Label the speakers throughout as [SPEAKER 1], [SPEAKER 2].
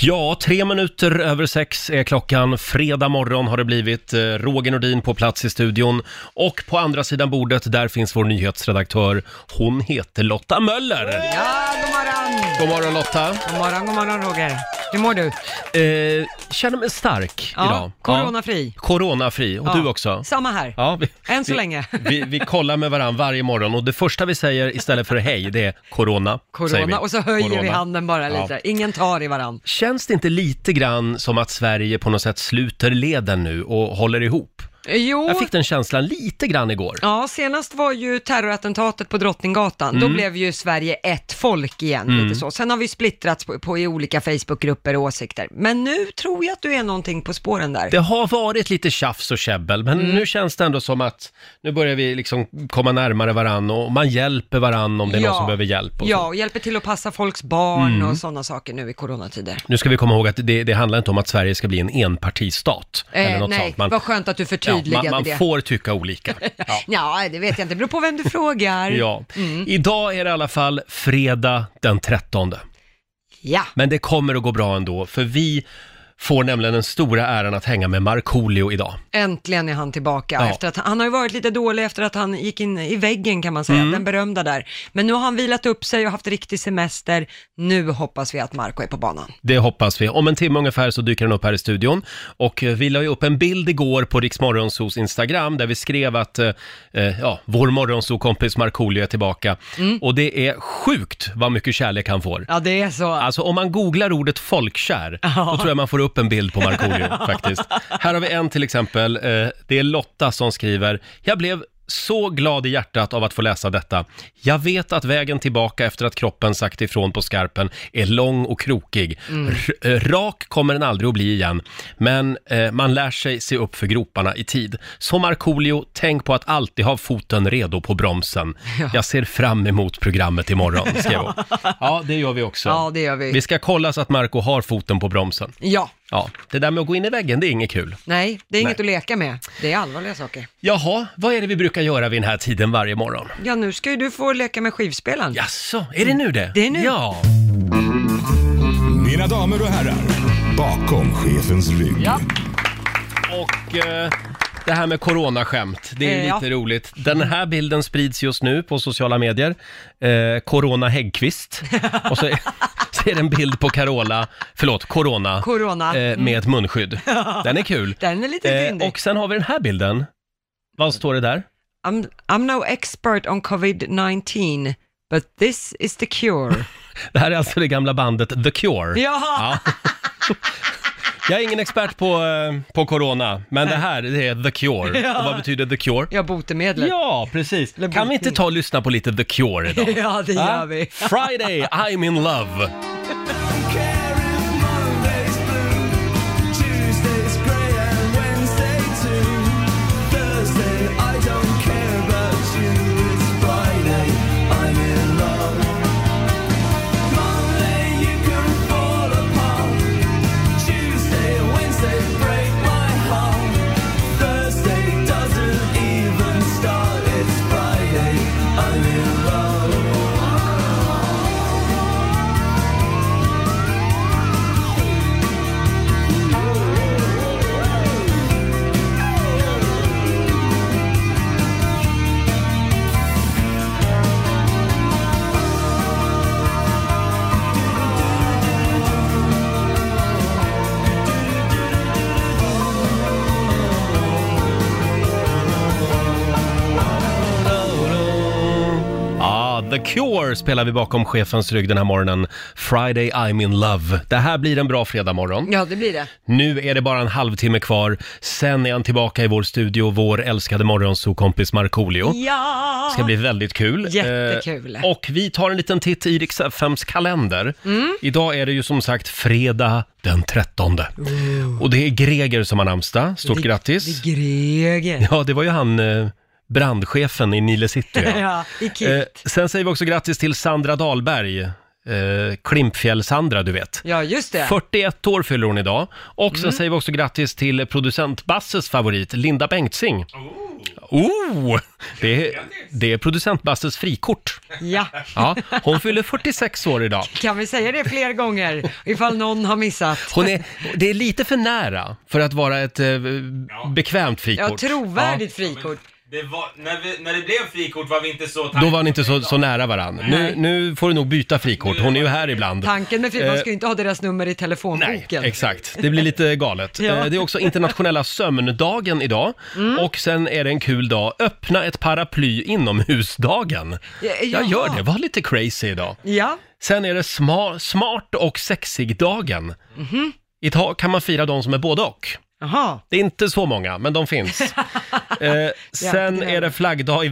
[SPEAKER 1] Ja, tre minuter över sex är klockan. Fredag morgon har det blivit. Eh, Roger Nordin på plats i studion. Och på andra sidan bordet, där finns vår nyhetsredaktör. Hon heter Lotta Möller.
[SPEAKER 2] Ja, god morgon!
[SPEAKER 1] God morgon Lotta.
[SPEAKER 2] God morgon, god morgon Roger. Hur mår du?
[SPEAKER 1] Eh, känner mig stark
[SPEAKER 2] Ja,
[SPEAKER 1] idag.
[SPEAKER 2] coronafri.
[SPEAKER 1] Ja, coronafri. Och
[SPEAKER 2] Ja,
[SPEAKER 1] du också.
[SPEAKER 2] Samma här.
[SPEAKER 1] Ja, vi,
[SPEAKER 2] Än så
[SPEAKER 1] vi,
[SPEAKER 2] länge.
[SPEAKER 1] vi, vi kollar med varandra varje morgon och det första vi säger istället för hej, det är corona. säger vi.
[SPEAKER 2] Corona, och så höjer vi
[SPEAKER 1] Corona.
[SPEAKER 2] handen bara
[SPEAKER 1] Ja.
[SPEAKER 2] lite. Ingen tar i varann.
[SPEAKER 1] Känns det inte lite grann som att Sverige på något sätt sluter leden nu och håller ihop?
[SPEAKER 2] Jo,
[SPEAKER 1] Jag fick den känslan lite grann igår.
[SPEAKER 2] ja, senast var ju terrorattentatet på Drottninggatan.
[SPEAKER 1] Mm.
[SPEAKER 2] Då blev ju Sverige ett folk igen, lite så. Sen har vi splittrats på, på i olika Facebookgrupper och åsikter. Men nu tror jag att du är någonting på spåren där.
[SPEAKER 1] Det har varit lite tjafs och käbbel, men
[SPEAKER 2] Mm.
[SPEAKER 1] nu känns det ändå som att nu börjar vi liksom komma närmare varann och man hjälper varann om det är någon som behöver hjälp. Och så. Mm.
[SPEAKER 2] Ja, och hjälper till att passa folks barn och sådana saker nu i coronatider.
[SPEAKER 1] Nu ska vi komma ihåg att det, det handlar inte om att Sverige ska bli en enpartistat. eller något
[SPEAKER 2] Eh, nej,
[SPEAKER 1] sånt. Man,
[SPEAKER 2] vad skönt att du förtydligade
[SPEAKER 1] ja, man,
[SPEAKER 2] det.
[SPEAKER 1] man får tycka olika. Ja.
[SPEAKER 2] Ja, det vet jag inte. Det beror på vem du frågar.
[SPEAKER 1] Ja.
[SPEAKER 2] Mm.
[SPEAKER 1] Idag är det i alla fall fredag den 13.
[SPEAKER 2] ja.
[SPEAKER 1] Men det kommer att gå bra ändå, för vi får nämligen den stora äran att hänga med Markoolio idag.
[SPEAKER 2] Äntligen är han tillbaka.
[SPEAKER 1] Ja.
[SPEAKER 2] Efter att, han har ju varit lite dålig efter att han gick in i väggen kan man säga,
[SPEAKER 1] Mm.
[SPEAKER 2] den berömda där. Men nu har han vilat upp sig och haft riktig semester. Nu hoppas vi att Marco är på banan.
[SPEAKER 1] Det hoppas vi. Om en timme ungefär så dyker han upp här i studion. Och eh, vi la ju upp en bild igår på Rix Morgonzoos Instagram där vi skrev att eh, eh, ja, vår morgonzoo-kompis Markoolio är tillbaka. Och det är sjukt vad mycket kärlek han får.
[SPEAKER 2] Ja, det är så.
[SPEAKER 1] Alltså om man googlar ordet folkkär, då tror jag man får upp en bild på Markoolio faktiskt. Här har vi en till exempel. Eh, Det är Lotta som skriver, jag blev så glad i hjärtat av att få läsa detta. Jag vet att vägen tillbaka efter att kroppen sagt ifrån på skarpen är lång och krokig.
[SPEAKER 2] Mm.
[SPEAKER 1] R- eh, rak kommer den aldrig att bli igen, men eh, man lär sig se upp för groparna i tid. Så Markoolio, tänk på att alltid ha foten redo på bromsen. Jag ser fram emot programmet imorgon, skrev hon. Ja, det gör vi också.
[SPEAKER 2] Ja, det gör vi.
[SPEAKER 1] Vi ska kolla så att Marco har foten på bromsen.
[SPEAKER 2] Ja,
[SPEAKER 1] Ja, det där med att gå in i väggen, det är inget kul.
[SPEAKER 2] nej, det är inget
[SPEAKER 1] Nej.
[SPEAKER 2] att leka med. Det är allvarliga saker.
[SPEAKER 1] Jaha, vad är det vi brukar göra vid den här tiden varje morgon?
[SPEAKER 2] Ja, nu ska ju du få leka med skivspelaren.
[SPEAKER 1] Jaså, är det nu det?
[SPEAKER 2] Det är nu.
[SPEAKER 1] Ja.
[SPEAKER 3] Mina damer och herrar, bakom chefens rygg.
[SPEAKER 1] Och eh, det här med coronaskämt, det är ju
[SPEAKER 2] Eh, ja.
[SPEAKER 1] lite roligt. Den här bilden sprids just nu på sociala medier. Eh, corona Häggkvist. Och så är, så är det en bild på Carola, förlåt, Corona,
[SPEAKER 2] Corona.
[SPEAKER 1] eh, med ett munskydd. Den är kul.
[SPEAKER 2] Den är lite
[SPEAKER 1] Eh,
[SPEAKER 2] fyndig.
[SPEAKER 1] och sen har vi den här bilden. Vad står det där?
[SPEAKER 2] I'm, I'm no expert on covid-19, but this is the cure.
[SPEAKER 1] Det här är alltså det gamla bandet The Cure.
[SPEAKER 2] Jaha!
[SPEAKER 1] Ja. Jag är ingen expert på, eh, på corona, men det här det är The Cure.
[SPEAKER 2] Ja.
[SPEAKER 1] Och vad betyder The Cure?
[SPEAKER 2] Ja, botemedlet.
[SPEAKER 1] Ja, precis. Kan vi inte ta och lyssna på lite The Cure idag?
[SPEAKER 2] Ja, det
[SPEAKER 1] Va?
[SPEAKER 2] gör vi.
[SPEAKER 1] Friday, I'm in love. Ah, The Cure spelar vi bakom chefens rygg den här morgonen. Friday, I'm in love. Det här blir en bra fredagmorgon.
[SPEAKER 2] Ja, det blir det.
[SPEAKER 1] Nu är det bara en halvtimme kvar. Sen är han tillbaka i vår studio, vår älskade morgonsokompis Markoolio.
[SPEAKER 2] Ja!
[SPEAKER 1] Det ska bli väldigt kul.
[SPEAKER 2] Jättekul.
[SPEAKER 1] Eh, och vi tar en liten titt i Rix FMs kalender.
[SPEAKER 2] Mm.
[SPEAKER 1] Idag är det ju som sagt fredag den 13.
[SPEAKER 2] Oh.
[SPEAKER 1] Och det är Greger som har namnsdag. Stort
[SPEAKER 2] Det-
[SPEAKER 1] grattis.
[SPEAKER 2] Det är Greger.
[SPEAKER 1] Ja, det var ju han eh, brandchefen i Nile City.
[SPEAKER 2] Ja,
[SPEAKER 1] Ja.
[SPEAKER 2] i kilt.
[SPEAKER 1] Eh, sen säger vi också grattis till Sandra Dahlberg. Eh, Klimpfjäll-Sandra, du vet.
[SPEAKER 2] ja, Mm. just det.
[SPEAKER 1] 41 år fyller hon idag. Och sen säger vi också grattis till producent Basses favorit, Linda Bengtzing. Oh. Oh! Det är, det är producent Basses frikort.
[SPEAKER 2] Ja,
[SPEAKER 1] Ja, hon fyller 46 år idag.
[SPEAKER 2] kan vi säga det fler gånger ifall någon har missat?
[SPEAKER 1] Hon är, det är lite för nära för att vara ett eh, bekvämt frikort.
[SPEAKER 2] Ja, trovärdigt frikort.
[SPEAKER 4] Det var, när, vi, när det blev frikort var vi inte så
[SPEAKER 1] Ja, då var ni inte så, så nära varandra. Nu, nu får du nog byta frikort, hon är ju här ibland.
[SPEAKER 2] Tanken med frikort, man ska ju inte ha deras nummer i
[SPEAKER 1] Eh, Nej,
[SPEAKER 2] telefonboken.
[SPEAKER 1] exakt. Det blir lite galet.
[SPEAKER 2] Ja. Mm.
[SPEAKER 1] Eh, Det är också internationella sömndagen idag. Och sen är det en kul dag, öppna ett paraply inomhusdagen.
[SPEAKER 2] Ja,
[SPEAKER 1] Jag gör
[SPEAKER 2] jaha.
[SPEAKER 1] det, var lite crazy idag.
[SPEAKER 2] Ja,
[SPEAKER 1] Sen är det sma- smart och sexig-dagen.
[SPEAKER 2] Mhm.
[SPEAKER 1] Idag kan man fira de som är både och.
[SPEAKER 2] jaha.
[SPEAKER 1] Det är inte så många, men de finns. eh, sen är det flaggdag i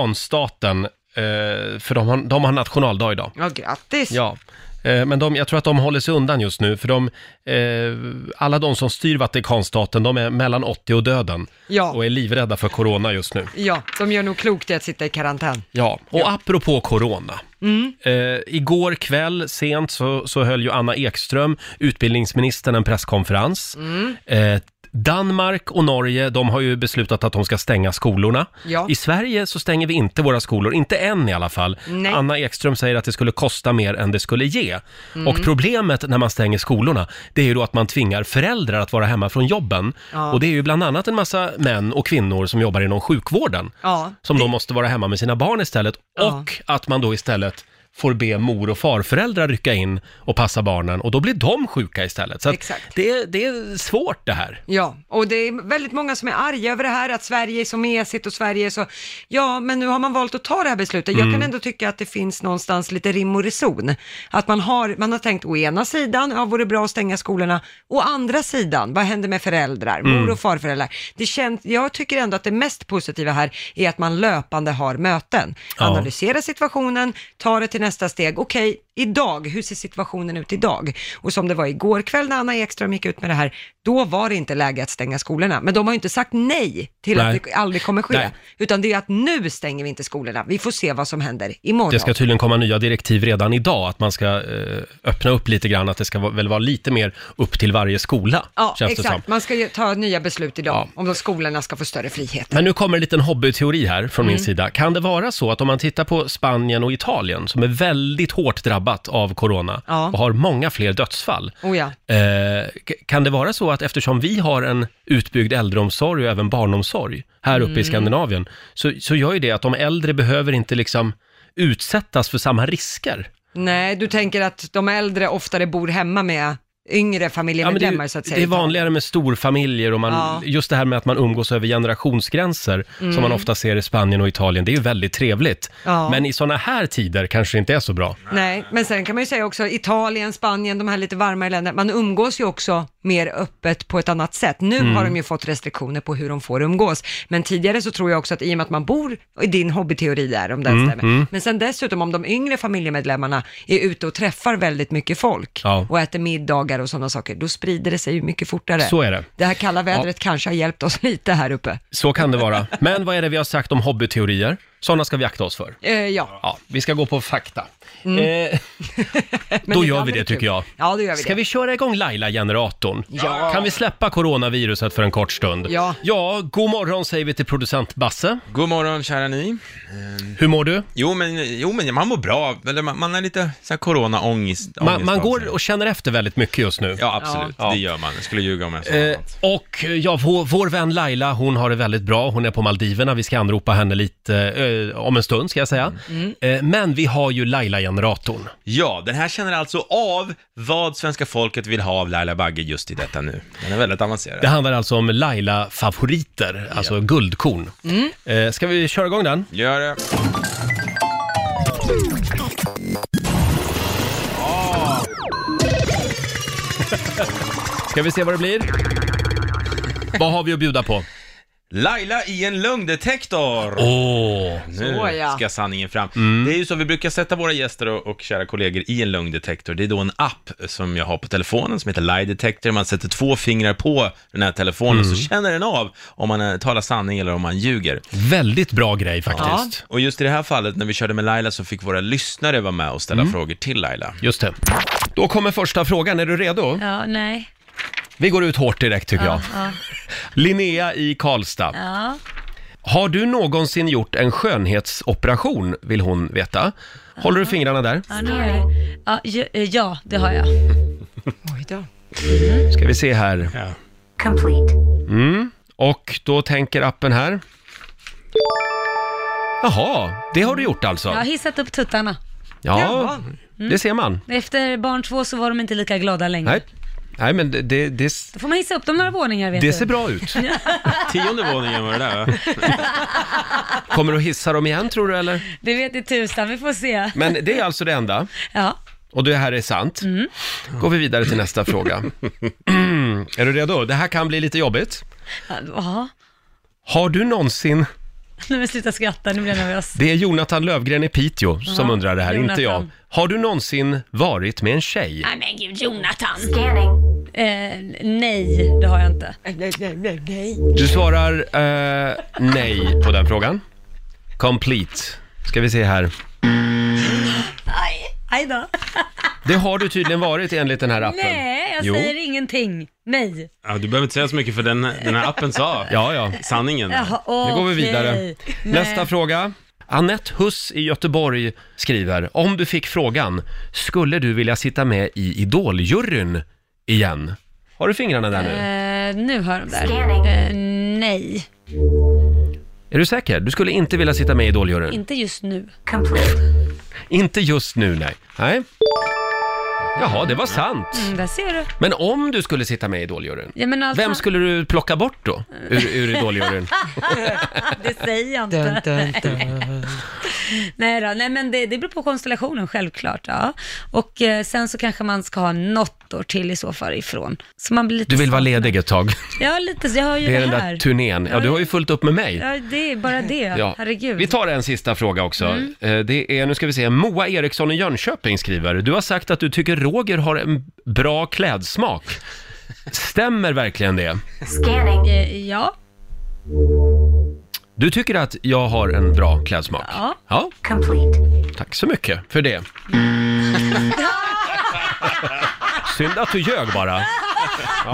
[SPEAKER 1] Vatikanstaten, eh, för de har, de har nationaldag idag.
[SPEAKER 2] Ja, grattis.
[SPEAKER 1] Ja. Eh, men de, jag tror att de håller sig undan just nu, för de, eh, alla de som styr Vatikanstaten, de är mellan 80 och döden
[SPEAKER 2] Ja.
[SPEAKER 1] och är livrädda för corona just nu.
[SPEAKER 2] Ja, de gör nog klokt i att sitta i karantän.
[SPEAKER 1] Ja, och apropå corona.
[SPEAKER 2] Mm.
[SPEAKER 1] Eh, igår kväll sent så, så höll ju Anna Ekström, utbildningsministern, en presskonferens.
[SPEAKER 2] Mm.
[SPEAKER 1] Eh, Danmark och Norge, de har ju beslutat att de ska stänga skolorna.
[SPEAKER 2] Ja.
[SPEAKER 1] I Sverige så stänger vi inte våra skolor, inte än i alla fall.
[SPEAKER 2] Nej.
[SPEAKER 1] Anna Ekström säger att det skulle kosta mer än det skulle ge.
[SPEAKER 2] Mm.
[SPEAKER 1] Och problemet när man stänger skolorna, det är ju då att man tvingar föräldrar att vara hemma från jobben.
[SPEAKER 2] Ja.
[SPEAKER 1] Och det är ju bland annat en massa män och kvinnor som jobbar inom sjukvården
[SPEAKER 2] Ja,
[SPEAKER 1] som då måste vara hemma med sina barn istället
[SPEAKER 2] Ja.
[SPEAKER 1] och att man då istället får be mor och farföräldrar rycka in och passa barnen och då blir de sjuka istället. Så att
[SPEAKER 2] Exakt.
[SPEAKER 1] Det, är, det är svårt det här.
[SPEAKER 2] Ja, och det är väldigt många som är arga över det här, att Sverige är så mesigt och Sverige är så... Ja, men nu har man valt att ta det här beslutet. Jag kan ändå tycka att det finns någonstans lite rim och reson. Att man har, man har tänkt å ena sidan, ja, vore det bra att stänga skolorna. Å andra sidan, vad händer med föräldrar, mor och farföräldrar? Det känns, jag tycker ändå att det mest positiva här är att man löpande har möten.
[SPEAKER 1] Ja.
[SPEAKER 2] Analysera situationen, ta det till nästa steg. Okej, idag, hur ser situationen ut idag? Och som det var igår kväll när Anna Ekström gick ut med det här, då var det inte läge att stänga skolorna. Men de har ju inte sagt nej till
[SPEAKER 1] Nej.
[SPEAKER 2] att det aldrig kommer ske,
[SPEAKER 1] Nej.
[SPEAKER 2] utan det är att nu stänger vi inte skolorna. Vi får se vad som händer imorgon.
[SPEAKER 1] Det ska tydligen komma nya direktiv redan idag att man ska eh, öppna upp lite grann, att det ska va- väl vara lite mer upp till varje skola,
[SPEAKER 2] Ja,
[SPEAKER 1] känns det som.
[SPEAKER 2] exakt. Man ska ju ta nya beslut idag
[SPEAKER 1] Ja.
[SPEAKER 2] om de skolorna ska få större frihet.
[SPEAKER 1] Men nu kommer en liten hobbyteori här från
[SPEAKER 2] Mm.
[SPEAKER 1] min sida. Kan det vara så att om man tittar på Spanien och Italien som är väldigt hårt drabbat av corona
[SPEAKER 2] Ja.
[SPEAKER 1] och har många fler dödsfall,
[SPEAKER 2] Oh ja.
[SPEAKER 1] Eh, k- kan det vara så att eftersom vi har en utbyggd äldreomsorg och även barnomsorg här uppe
[SPEAKER 2] Mm.
[SPEAKER 1] i Skandinavien, så, så gör ju det att de äldre behöver inte liksom utsättas för samma risker.
[SPEAKER 2] Nej, du tänker att de äldre oftare bor hemma med yngre
[SPEAKER 1] det,
[SPEAKER 2] familjemedlemmar så att
[SPEAKER 1] är,
[SPEAKER 2] säga.
[SPEAKER 1] det är vanligare med storfamiljer och man,
[SPEAKER 2] Ja. Mm.
[SPEAKER 1] just det här med att man umgås över generationsgränser som man ofta ser i Spanien och Italien, det är ju väldigt trevligt.
[SPEAKER 2] Ja.
[SPEAKER 1] Men i sådana här tider kanske det inte är så bra.
[SPEAKER 2] Nej, men sen kan man ju säga också Italien, Spanien, de här lite varmare länderna, man umgås ju också mer öppet på ett annat sätt. Nu
[SPEAKER 1] Mm.
[SPEAKER 2] har de ju fått restriktioner på hur de får umgås, men tidigare så tror jag också att i och med att man bor, i din hobbyteori där om den
[SPEAKER 1] Mm,
[SPEAKER 2] stämmer, men sen dessutom om de yngre familjemedlemmarna är ute och träffar väldigt mycket folk
[SPEAKER 1] Ja.
[SPEAKER 2] och äter middagar och sådana saker, då sprider det sig ju mycket fortare.
[SPEAKER 1] Så är det.
[SPEAKER 2] Det här kalla vädret kanske har hjälpt oss lite här uppe.
[SPEAKER 1] Så kan det vara. Men vad är det vi har sagt om hobbyteorier? Sådana ska vi akta oss för.
[SPEAKER 2] Eh, ja,
[SPEAKER 1] Ja, vi ska gå på fakta.
[SPEAKER 2] Mm.
[SPEAKER 1] Eh,
[SPEAKER 2] men
[SPEAKER 1] Då
[SPEAKER 2] ibland
[SPEAKER 1] gör vi
[SPEAKER 2] är
[SPEAKER 1] det, tycker
[SPEAKER 2] kul.
[SPEAKER 1] jag.
[SPEAKER 2] Ja, då gör vi
[SPEAKER 1] Ska
[SPEAKER 2] det.
[SPEAKER 1] vi köra igång Laila-generatorn?
[SPEAKER 2] Ja.
[SPEAKER 1] Kan vi släppa coronaviruset för en kort stund?
[SPEAKER 2] Ja.
[SPEAKER 1] Ja, god morgon säger vi till producent Basse.
[SPEAKER 4] God morgon kära ni.
[SPEAKER 1] Hur mår du?
[SPEAKER 4] Jo men, jo, men man mår bra, eller man, man är lite så här corona-ångest.
[SPEAKER 1] Man,
[SPEAKER 4] ångest
[SPEAKER 1] man
[SPEAKER 4] av
[SPEAKER 1] går
[SPEAKER 4] sig.
[SPEAKER 1] och känner efter väldigt mycket just nu.
[SPEAKER 4] Ja, absolut.
[SPEAKER 1] Ja.
[SPEAKER 4] Det gör man. Jag skulle ljuga om jag sa
[SPEAKER 1] Eh,
[SPEAKER 4] något.
[SPEAKER 1] och eh, ja, vår, vår vän Laila, hon har det väldigt bra. Hon är på Maldiverna. Vi ska anropa henne lite eh, om en stund, ska jag säga. Eh, men vi har ju Laila-generatorn.
[SPEAKER 4] Ja, den här känner alltså av vad svenska folket vill ha av Laila Bagge just i detta nu. Den är väldigt avancerad.
[SPEAKER 1] Det handlar alltså om Laila-favoriter, alltså guldkorn. Eh, ska vi köra igång den?
[SPEAKER 4] Gör det.
[SPEAKER 1] Ska vi se vad det blir? vad har vi att bjuda på?
[SPEAKER 4] Laila i en lögndetektor!
[SPEAKER 1] Åh!
[SPEAKER 4] Nu
[SPEAKER 2] Så, ja.
[SPEAKER 4] ska sanningen fram. Det är ju så, vi brukar sätta våra gäster och, och kära kollegor i en lögndetektor. Det är då en app som jag har på telefonen som heter Lie Detector. Man sätter två fingrar på den här telefonen så känner den av om man eh, talar sanning eller om man ljuger.
[SPEAKER 1] Väldigt bra grej faktiskt.
[SPEAKER 4] Och just i det här fallet när vi körde med Laila så fick våra lyssnare vara med och ställa frågor till Laila.
[SPEAKER 1] Just det. Då kommer första frågan, är du redo?
[SPEAKER 5] Ja, nej.
[SPEAKER 1] Vi går ut hårt direkt tycker jag.
[SPEAKER 5] Ja.
[SPEAKER 1] Linnea i Karlstad.
[SPEAKER 5] ja.
[SPEAKER 1] Har du någonsin gjort en skönhetsoperation, vill hon veta. Håller du fingrarna där?
[SPEAKER 5] Ja, det har jag. Ja, ju- eh, ja, det har jag.
[SPEAKER 2] Oj då.
[SPEAKER 1] Ska vi se här.
[SPEAKER 5] Complete.
[SPEAKER 1] Mm. Och då tänker appen här. Jaha, det har du gjort
[SPEAKER 5] Jag
[SPEAKER 1] alltså?
[SPEAKER 5] har hissat upp tuttarna.
[SPEAKER 1] Ja,
[SPEAKER 5] Mm.
[SPEAKER 1] det ser man.
[SPEAKER 5] Efter barn två så var de inte lika glada längre.
[SPEAKER 1] Nej, Nej men det, det, det,
[SPEAKER 5] Då får man hissa upp dem några våningar vet
[SPEAKER 1] det
[SPEAKER 5] du.
[SPEAKER 1] ser bra ut.
[SPEAKER 4] Tionde våningen var det där va?
[SPEAKER 1] Kommer du att hissa dem igen tror du eller?
[SPEAKER 5] Det vet i tusan, vi får se.
[SPEAKER 1] Men det är alltså det enda.
[SPEAKER 5] Ja.
[SPEAKER 1] Och det här är sant.
[SPEAKER 5] Mm.
[SPEAKER 1] Går vi vidare till nästa fråga. Mm. är du redo? Det här kan bli lite jobbigt.
[SPEAKER 5] Ja,
[SPEAKER 1] Har du någonsin...
[SPEAKER 5] nu men sluta skratta, nu blir jag nervös.
[SPEAKER 1] Det är Jonathan Lövgren i Piteå som
[SPEAKER 5] Ja,
[SPEAKER 1] undrar det här, inte jag.
[SPEAKER 5] Jonathan.
[SPEAKER 1] Har du någonsin varit med en tjej?
[SPEAKER 5] Nej men gud, Jonathan. Eh, nej, det har jag inte.
[SPEAKER 2] Nej, nej, nej, nej.
[SPEAKER 1] Du svarar eh, nej på den frågan. Complete. Ska vi se här.
[SPEAKER 5] Aj, aj då.
[SPEAKER 1] Det har du tydligen varit enligt den här appen.
[SPEAKER 5] Nej, jag
[SPEAKER 1] Jo.
[SPEAKER 5] säger ingenting. Nej.
[SPEAKER 4] Ja, du behöver inte säga så mycket för den, den här appen sa
[SPEAKER 1] Ja, ja.
[SPEAKER 4] sanningen.
[SPEAKER 5] Jaha,
[SPEAKER 1] Nu går vi
[SPEAKER 5] okej.
[SPEAKER 1] vidare.
[SPEAKER 5] Nej.
[SPEAKER 1] Nästa fråga. Annette Huss i Göteborg skriver, om du fick frågan, skulle du vilja sitta med i Idoljuryn igen? Har du fingrarna där nu?
[SPEAKER 5] Eh, nu har de där. Eh, nej,
[SPEAKER 1] Är du säker? Du skulle inte vilja sitta med i Idoljuryn?
[SPEAKER 5] inte just nu.
[SPEAKER 1] Inte just nu, nej. Nej. Jaha, det var sant.
[SPEAKER 5] Mm, där ser du.
[SPEAKER 1] Men om du skulle sitta med i Idoljuryn,
[SPEAKER 5] Ja, men alltså,
[SPEAKER 1] vem skulle du plocka bort då ur, ur Idoljuryn?
[SPEAKER 5] Det säger jag inte.
[SPEAKER 2] Dun, dun, dun.
[SPEAKER 5] Nej då, nej men det, det beror på konstellationen självklart. Ja. Och eh, sen så kanske man ska ha något år till i så fall ifrån. Så man blir lite
[SPEAKER 1] Du vill vara
[SPEAKER 5] saknad.
[SPEAKER 1] ledig ett tag.
[SPEAKER 5] Ja, lite så. Jag har ju
[SPEAKER 1] Det är
[SPEAKER 5] det,
[SPEAKER 1] den
[SPEAKER 5] här.
[SPEAKER 1] där turnén. Ja, du har ju fullt upp med mig.
[SPEAKER 5] ja, det är bara det.
[SPEAKER 1] Ja.
[SPEAKER 5] Herregud. Mm.
[SPEAKER 1] Vi tar en sista fråga också. Eh, Det är, nu ska vi se, Moa Eriksson i Jönköping skriver. Du har sagt att du tycker Roger har en bra klädsmak. Stämmer verkligen det?
[SPEAKER 5] Eh, Ja,
[SPEAKER 1] Du tycker att jag har en bra klädsmak?
[SPEAKER 5] Ja.
[SPEAKER 1] ja. Tack så mycket för det. Synd att du ljög bara.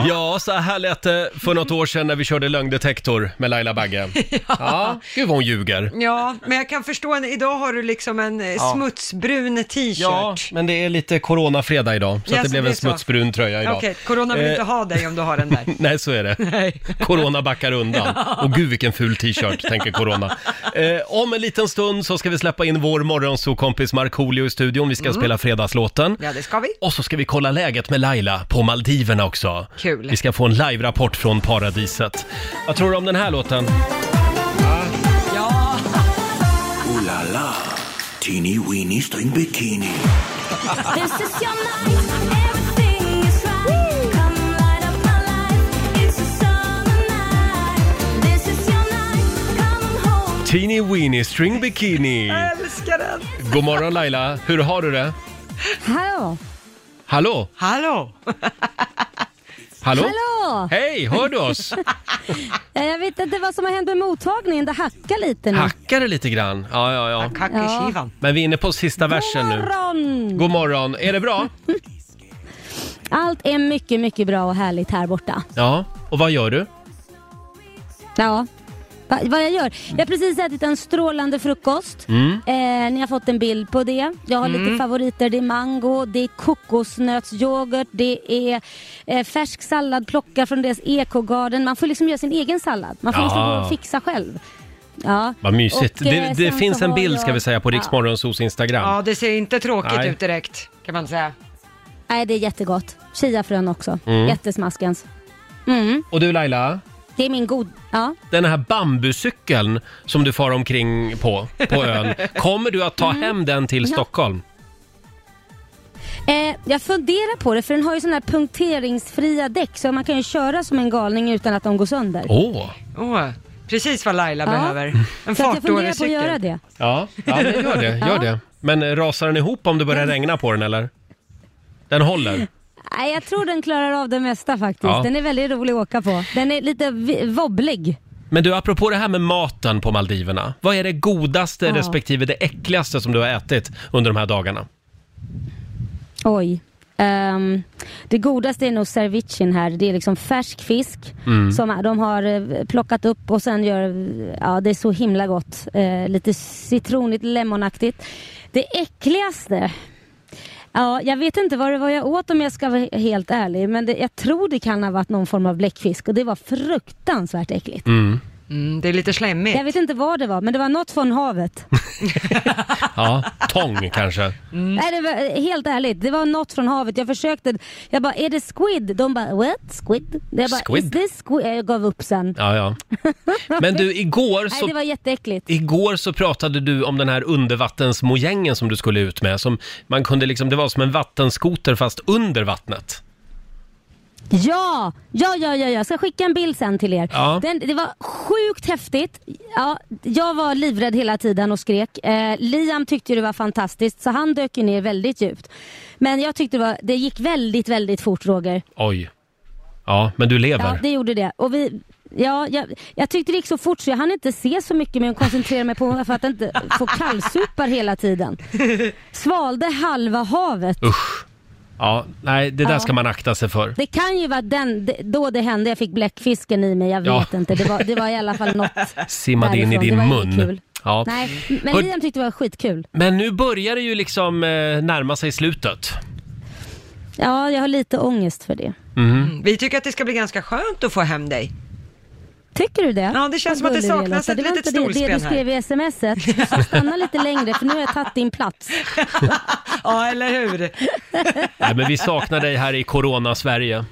[SPEAKER 1] Ja. så här lät det för något år sedan när vi körde lögndetektor med Laila Bagge. Ja. Gud vad hon ljuger.
[SPEAKER 2] Ja, men jag kan förstå, en- idag har du liksom en eh, smutsbrun t-shirt.
[SPEAKER 1] Ja, men det är lite coronafredag idag, så
[SPEAKER 2] Ja,
[SPEAKER 1] att det
[SPEAKER 2] så
[SPEAKER 1] blev
[SPEAKER 2] det
[SPEAKER 1] en
[SPEAKER 2] är så.
[SPEAKER 1] smutsbrun tröja idag.
[SPEAKER 2] Okej, corona vill
[SPEAKER 1] Eh.
[SPEAKER 2] inte ha dig om du har den där.
[SPEAKER 1] Nej, så är det. Corona backar undan. Och gud vilken ful t-shirt, tänker Corona. Eh, om en liten stund så ska vi släppa in vår morgonsokompis Markoolio i studion. Vi ska
[SPEAKER 2] Mm.
[SPEAKER 1] spela fredagslåten.
[SPEAKER 2] Ja, det ska vi.
[SPEAKER 1] Och så ska vi kolla läget med Laila på Maldiverna också.
[SPEAKER 2] Kul.
[SPEAKER 1] Vi ska få en live-rapport från paradiset. Vad tror du om den här låten?
[SPEAKER 2] Ja,
[SPEAKER 6] Ooh la la, teeny weeny string bikini.
[SPEAKER 7] This is your night. Everything is right. Come light up my life. It's a summer night. This is your night. Come home.
[SPEAKER 1] Teeny Weeny String Bikini.
[SPEAKER 2] jag älskar den.
[SPEAKER 1] God morgon Laila, hur har du det?
[SPEAKER 8] Hallå!
[SPEAKER 1] Hallå?
[SPEAKER 2] Hallå!
[SPEAKER 1] Hallå?
[SPEAKER 8] Hallå!
[SPEAKER 1] Hej, hör du oss?
[SPEAKER 8] Eh, Jag vet inte vad som har hänt med mottagningen. Det hackar lite nu.
[SPEAKER 1] Hackar det lite grann? Ja, ja, ja.
[SPEAKER 2] Kakikivan.
[SPEAKER 1] Men vi är inne på sista versen nu.
[SPEAKER 8] Morgon!
[SPEAKER 1] God morgon, är det bra?
[SPEAKER 8] Allt är mycket, mycket bra och härligt här borta.
[SPEAKER 1] Ja, och vad gör du?
[SPEAKER 8] Ja. Va, vad jag gör? Jag har precis ätit en strålande frukost.
[SPEAKER 1] Mm.
[SPEAKER 8] Eh, ni har fått en bild på det. Jag har lite favoriter. Det är mango, det är kokosnötsyoghurt, det är eh, färsk sallad plockad från deras ekogarden. Man får liksom göra sin egen sallad. Man får
[SPEAKER 1] Ja.
[SPEAKER 8] liksom gå och fixa själv. Ja.
[SPEAKER 1] Vad mysigt.
[SPEAKER 8] Och, eh,
[SPEAKER 1] det det
[SPEAKER 8] sen
[SPEAKER 1] finns
[SPEAKER 8] så
[SPEAKER 1] en
[SPEAKER 8] har
[SPEAKER 1] bild ska
[SPEAKER 8] jag-
[SPEAKER 1] vi säga på
[SPEAKER 8] Ja.
[SPEAKER 1] Riksmorgonsos Instagram.
[SPEAKER 2] Ja, det ser inte tråkigt
[SPEAKER 1] Nej.
[SPEAKER 2] ut direkt, kan man säga.
[SPEAKER 8] Nej, det är jättegott. Chiafrön också. Jättesmaskens. Mm.
[SPEAKER 1] Och du Laila,
[SPEAKER 8] Det är min god... Ja.
[SPEAKER 1] den här bambucykeln som du far omkring på, på ön. Kommer du att ta hem den till
[SPEAKER 8] Mm. Ja.
[SPEAKER 1] Stockholm?
[SPEAKER 8] Eh, jag funderar på det, för den har ju sådana här punkteringsfria däck så man kan ju köra som en galning utan att de går sönder.
[SPEAKER 1] Åh!
[SPEAKER 2] Åh, precis vad Laila
[SPEAKER 8] Ja.
[SPEAKER 2] behöver. En
[SPEAKER 8] så att jag funderar
[SPEAKER 2] fartdålig
[SPEAKER 8] på att göra
[SPEAKER 2] cykel.
[SPEAKER 8] det.
[SPEAKER 1] Ja, ja men gör det, gör
[SPEAKER 8] Ja.
[SPEAKER 1] det. Men eh, rasar den ihop om det börjar regna på den eller? Den håller?
[SPEAKER 8] Nej, jag tror den klarar av det mesta faktiskt.
[SPEAKER 1] Ja.
[SPEAKER 8] Den är väldigt rolig att åka på. Den är lite vi- wobblig.
[SPEAKER 1] Men du, apropå det här med maten på Maldiverna. Vad är det godaste
[SPEAKER 8] Ja.
[SPEAKER 1] respektive det äckligaste som du har ätit under de här dagarna?
[SPEAKER 8] Oj. Ehm, det godaste är nog cervicin här. Det är liksom färsk fisk som de har eh, plockat upp och sen gör, ja det är så himla gott. Eh, lite citronigt, lemonaktigt. Det äckligaste Ja, jag vet inte vad det var jag åt om jag ska vara helt ärlig, men det, jag tror det kan ha varit någon form av bläckfisk och det var fruktansvärt äckligt.
[SPEAKER 2] Mm, det är lite slemmigt.
[SPEAKER 8] Jag vet inte vad det var, men det var något från havet.
[SPEAKER 1] Ja, tång kanske.
[SPEAKER 8] Nej, det var, eh, helt ärligt, det var något från havet. Jag försökte, jag bara, är det squid? De bara, what? Squid? Jag bara,
[SPEAKER 1] Squid?
[SPEAKER 8] is this squid? Jag gav upp sen.
[SPEAKER 1] Ja, ja. Men du, igår
[SPEAKER 8] Nej, det
[SPEAKER 1] så,
[SPEAKER 8] var jätteäckligt.
[SPEAKER 1] igår så pratade du om den här undervattensmojängen som du skulle ut med. Som man kunde liksom, det var som en vattenskoter fast under vattnet.
[SPEAKER 8] Ja, ja, ja, ja, jag ska skicka en bild sen till er.
[SPEAKER 1] Ja.
[SPEAKER 8] Den, det var sjukt häftigt. Ja, jag var livrädd hela tiden och skrek. Eh, Liam tyckte ju det var fantastiskt så han dök ju ner väldigt djupt. Men jag tyckte det, var, det gick väldigt, väldigt fort Roger.
[SPEAKER 1] Oj. Ja, men du
[SPEAKER 8] Ja,
[SPEAKER 1] lever.
[SPEAKER 8] det gjorde det. Och vi, ja, jag, jag tyckte det gick så fort så jag hann inte se så mycket men jag koncentrerade mig på för att inte få kallsupar hela tiden. Svalde halva havet.
[SPEAKER 1] Usch. Ja, nej, det där
[SPEAKER 8] Ja.
[SPEAKER 1] ska man akta sig för.
[SPEAKER 8] Det kan ju vara den, det- då det hände jag fick bläckfisken i mig, jag
[SPEAKER 1] Ja.
[SPEAKER 8] vet inte. Det var, det var i alla fall något
[SPEAKER 1] Simmade in i
[SPEAKER 8] därifrån. Det
[SPEAKER 1] din
[SPEAKER 8] var inget
[SPEAKER 1] mun.
[SPEAKER 8] kul.
[SPEAKER 1] Ja.
[SPEAKER 8] Nej, men
[SPEAKER 1] Hör-
[SPEAKER 8] Liam tyckte det var skitkul.
[SPEAKER 1] Men nu börjar det ju liksom eh, närma sig slutet.
[SPEAKER 8] Ja, jag har lite ångest för det.
[SPEAKER 2] Mm. Vi tycker att det ska bli ganska skönt att få hem dig.
[SPEAKER 8] Tycker du det?
[SPEAKER 2] Ja, det känns som
[SPEAKER 8] Vad
[SPEAKER 2] att det
[SPEAKER 8] gullig du är,
[SPEAKER 2] saknas
[SPEAKER 8] Lotta.
[SPEAKER 2] ett
[SPEAKER 8] Det var
[SPEAKER 2] litet
[SPEAKER 8] inte Det, det du
[SPEAKER 2] stolsben här.
[SPEAKER 8] skrev i smset. Du ska stanna lite längre för nu har jag tagit din plats.
[SPEAKER 2] Ja, eller hur?
[SPEAKER 1] Nej, men vi saknar dig här i Corona-Sverige.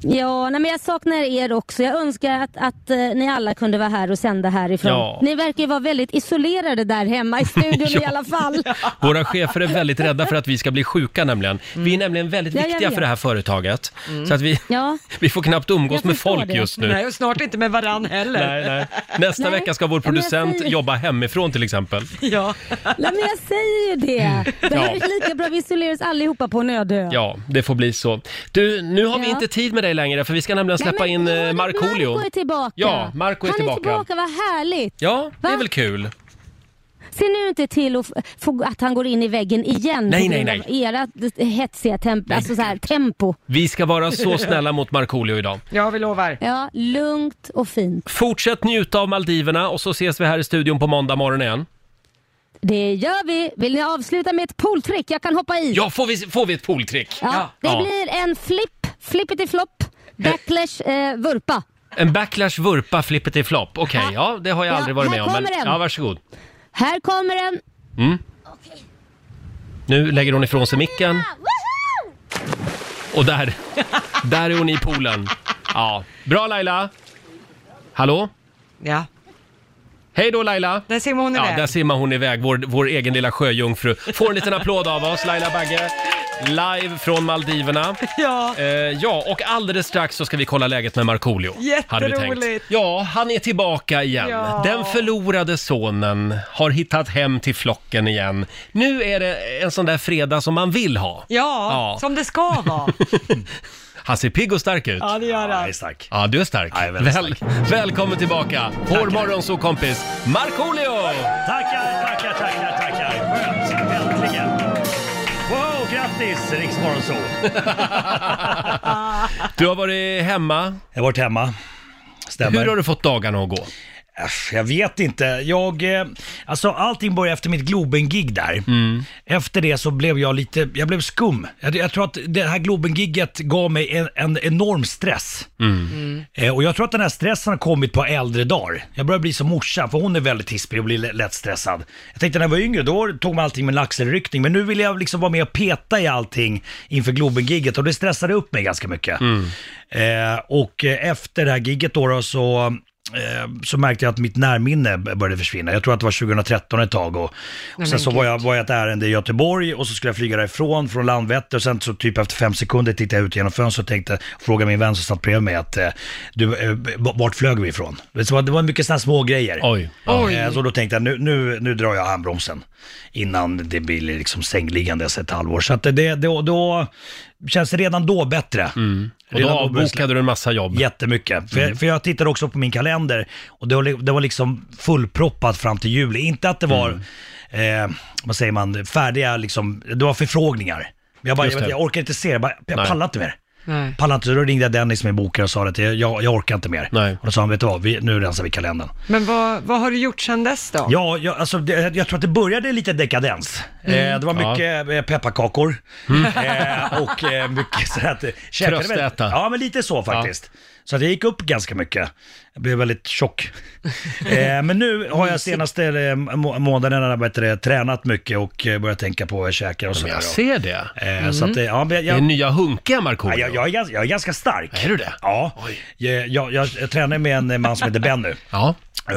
[SPEAKER 8] Ja, nej, men jag saknar er också. Jag önskar att, att eh, ni alla kunde vara här och sända härifrån.
[SPEAKER 1] Ja.
[SPEAKER 8] Ni verkar ju vara väldigt isolerade där hemma i studion i alla fall.
[SPEAKER 1] Våra chefer är väldigt rädda för att vi ska bli sjuka nämligen. Vi är nämligen väldigt
[SPEAKER 8] Ja, jag
[SPEAKER 1] viktiga
[SPEAKER 8] vet.
[SPEAKER 1] för det här företaget. Så att vi,
[SPEAKER 8] Ja.
[SPEAKER 1] vi får knappt umgås
[SPEAKER 8] Jag
[SPEAKER 1] med
[SPEAKER 8] förstår
[SPEAKER 1] folk
[SPEAKER 8] det.
[SPEAKER 1] just nu.
[SPEAKER 2] Nej, och snart inte med varann heller.
[SPEAKER 1] Nej, nej. Nästa
[SPEAKER 8] Nej.
[SPEAKER 1] vecka ska vår
[SPEAKER 8] Ja, men jag
[SPEAKER 1] producent
[SPEAKER 8] säger-
[SPEAKER 1] jobba hemifrån till exempel.
[SPEAKER 2] Ja.
[SPEAKER 8] Nej, men jag säger ju det. Det
[SPEAKER 1] Ja.
[SPEAKER 8] här är lika bra vi isolerar oss allihopa på en öde ö.
[SPEAKER 1] Ja, det får bli så. Du, nu har vi
[SPEAKER 8] Ja.
[SPEAKER 1] inte tid med dig längre för vi ska nämligen släppa
[SPEAKER 8] Nej,
[SPEAKER 1] in
[SPEAKER 8] men
[SPEAKER 1] eh,
[SPEAKER 8] Marco
[SPEAKER 1] Markoolio.
[SPEAKER 8] Marco är tillbaka.
[SPEAKER 1] Ja, Marco är
[SPEAKER 8] Han
[SPEAKER 1] tillbaka.
[SPEAKER 8] är tillbaka, vad härligt.
[SPEAKER 1] Ja, det är
[SPEAKER 8] Va?
[SPEAKER 1] väl kul.
[SPEAKER 8] Ser nu inte till att, f- få- att han går in i väggen igen
[SPEAKER 1] Nej,
[SPEAKER 8] på
[SPEAKER 1] nej,
[SPEAKER 8] grund
[SPEAKER 1] nej.
[SPEAKER 8] av era d- hetsiga temp- alltså så här, tempo.
[SPEAKER 1] Vi ska vara så snälla mot Markoolio idag.
[SPEAKER 2] ja, vi lovar.
[SPEAKER 8] Ja, lugnt och fint.
[SPEAKER 1] Fortsätt njuta av Maldiverna och så ses vi här i studion på måndag morgon igen.
[SPEAKER 8] Det gör vi. Vill ni avsluta med ett pooltrick? Jag kan hoppa i.
[SPEAKER 1] Ja, får vi, får vi ett pooltrick?
[SPEAKER 8] Ja, det
[SPEAKER 1] Ja.
[SPEAKER 8] blir en flipp, flippity flopp, backlash, eh, vurpa.
[SPEAKER 1] En backlash vurpa flippity flopp. Okej, ja det har jag
[SPEAKER 8] Ja,
[SPEAKER 1] aldrig varit
[SPEAKER 8] här
[SPEAKER 1] med om. Men,
[SPEAKER 8] kommer den.
[SPEAKER 1] ja, varsågod.
[SPEAKER 8] Här kommer den.
[SPEAKER 1] Nu lägger hon ifrån sig micken och där, där är hon i poolen. Ja, bra Laila! Hallå?
[SPEAKER 2] Ja,
[SPEAKER 1] Hej då Laila!
[SPEAKER 2] där simmar hon
[SPEAKER 1] Ja,
[SPEAKER 2] iväg.
[SPEAKER 1] där simmar hon iväg, vår, vår egen lilla sjöjungfru. Får en liten applåd av oss, Laila Bagge. Live från Maldiverna.
[SPEAKER 2] Ja.
[SPEAKER 1] Eh, ja, och alldeles strax så ska vi kolla läget med Markoolio. hade vi tänkt.
[SPEAKER 2] Jätteroligt.
[SPEAKER 1] Ja, han är tillbaka igen.
[SPEAKER 2] Ja.
[SPEAKER 1] Den förlorade sonen har hittat hem till flocken igen. Nu är det en sån där fredag som man vill ha.
[SPEAKER 2] Ja,
[SPEAKER 1] Ja.
[SPEAKER 2] som det ska vara.
[SPEAKER 1] Han ser pigg och stark ut.
[SPEAKER 2] Ja, det gör han.
[SPEAKER 4] Tack.
[SPEAKER 1] Ja, du är stark.
[SPEAKER 4] Ja, jag är väldigt
[SPEAKER 1] Välkommen tillbaka, vår morgonsåkompis Markoolio!
[SPEAKER 9] Tackar, tackar, tackar, tackar. Skönt, äntligen. Wow, grattis Riksmorgonzoo.
[SPEAKER 1] Du har varit hemma.
[SPEAKER 9] Jag har varit hemma. Stämmer.
[SPEAKER 1] Hur har du fått dagarna att gå?
[SPEAKER 9] Äsch, Jag vet inte. Jag, eh, alltså allting började efter mitt Globen-gig där. Efter det så blev jag lite, jag blev skum. Jag, jag tror att det här Globen-giget gav mig en, en enorm stress. Eh, och jag tror att den här stressen har kommit på äldre dagar. Jag börjar bli som morsan, för hon är väldigt hispig och blir l- lätt stressad. Jag tänkte när jag var yngre, då tog man allting med en axelryckning. Men nu vill jag liksom vara med och peta i allting inför Globen-giget och det stressade upp mig ganska mycket. Eh, och eh, efter det här giget då, då så eh, så märkte jag att mitt närminne började försvinna. Jag tror att det var 2013 ett tag. Och, och sen så var jag, var jag ett ärende i Göteborg och så skulle jag flyga därifrån, från Landvetter. Och sen så typ efter fem sekunder tittade jag ut genom fönstret och tänkte, fråga min vän som satt bredvid mig att, eh, du, eh, b- vart flög vi ifrån? Det var, det var mycket sådana små grejer.
[SPEAKER 1] Oj.
[SPEAKER 9] Eh, Så då tänkte jag, nu, nu, nu drar jag handbromsen innan det blir liksom sängliggandes ett halvår. Så att det, det, då, då känns det redan då bättre.
[SPEAKER 1] Mm. Och då
[SPEAKER 9] Redan började jag
[SPEAKER 1] avbokade du en massa jobb.
[SPEAKER 9] Jättemycket. För, för jag tittade också på min kalender och det var, li- det var liksom fullproppat fram till
[SPEAKER 1] Mm.
[SPEAKER 9] juli. Inte att det var, eh, vad säger man, färdiga liksom, det var förfrågningar. Jag, bara,
[SPEAKER 1] Just
[SPEAKER 9] jag, vet-
[SPEAKER 1] det.
[SPEAKER 9] jag orkar inte se det, jag, bara, jag
[SPEAKER 1] Nej.
[SPEAKER 9] pallar inte mer.
[SPEAKER 2] Nej.
[SPEAKER 9] Pallar inte, så då ringde jag Dennis som är bokare och sa att jag, jag, jag orkar inte mer.
[SPEAKER 1] Nej.
[SPEAKER 9] Och då sa han, vet du vad, vi, nu rensar vi kalendern.
[SPEAKER 2] Men vad, vad har du gjort sedan dess då?
[SPEAKER 9] Ja, jag, alltså, det, jag tror att det började lite dekadens. Eh, det var
[SPEAKER 1] Mm. Ja. Mm.
[SPEAKER 9] mycket eh, pepparkakor eh, och eh, mycket så att... käkade väldigt-
[SPEAKER 1] Tröstäta.
[SPEAKER 9] Ja, men lite så faktiskt. Så att jag gick upp ganska mycket. Jag blev väldigt tjock. eh, men nu har jag senaste eh, må- månaderna vad heter det, tränat mycket och eh, börjat tänka på vad jag käkar och sådär.
[SPEAKER 1] Jag ser det.
[SPEAKER 9] Eh, Så att, eh, ja, men jag,
[SPEAKER 1] Det är
[SPEAKER 9] jag,
[SPEAKER 1] nya hunkiga Markoolio.
[SPEAKER 9] jag, jag, är ganska, jag är ganska stark.
[SPEAKER 1] Är du det?
[SPEAKER 9] Ja. Jag, jag, jag, jag tränar med en eh, man som heter Ben nu.
[SPEAKER 1] Ja.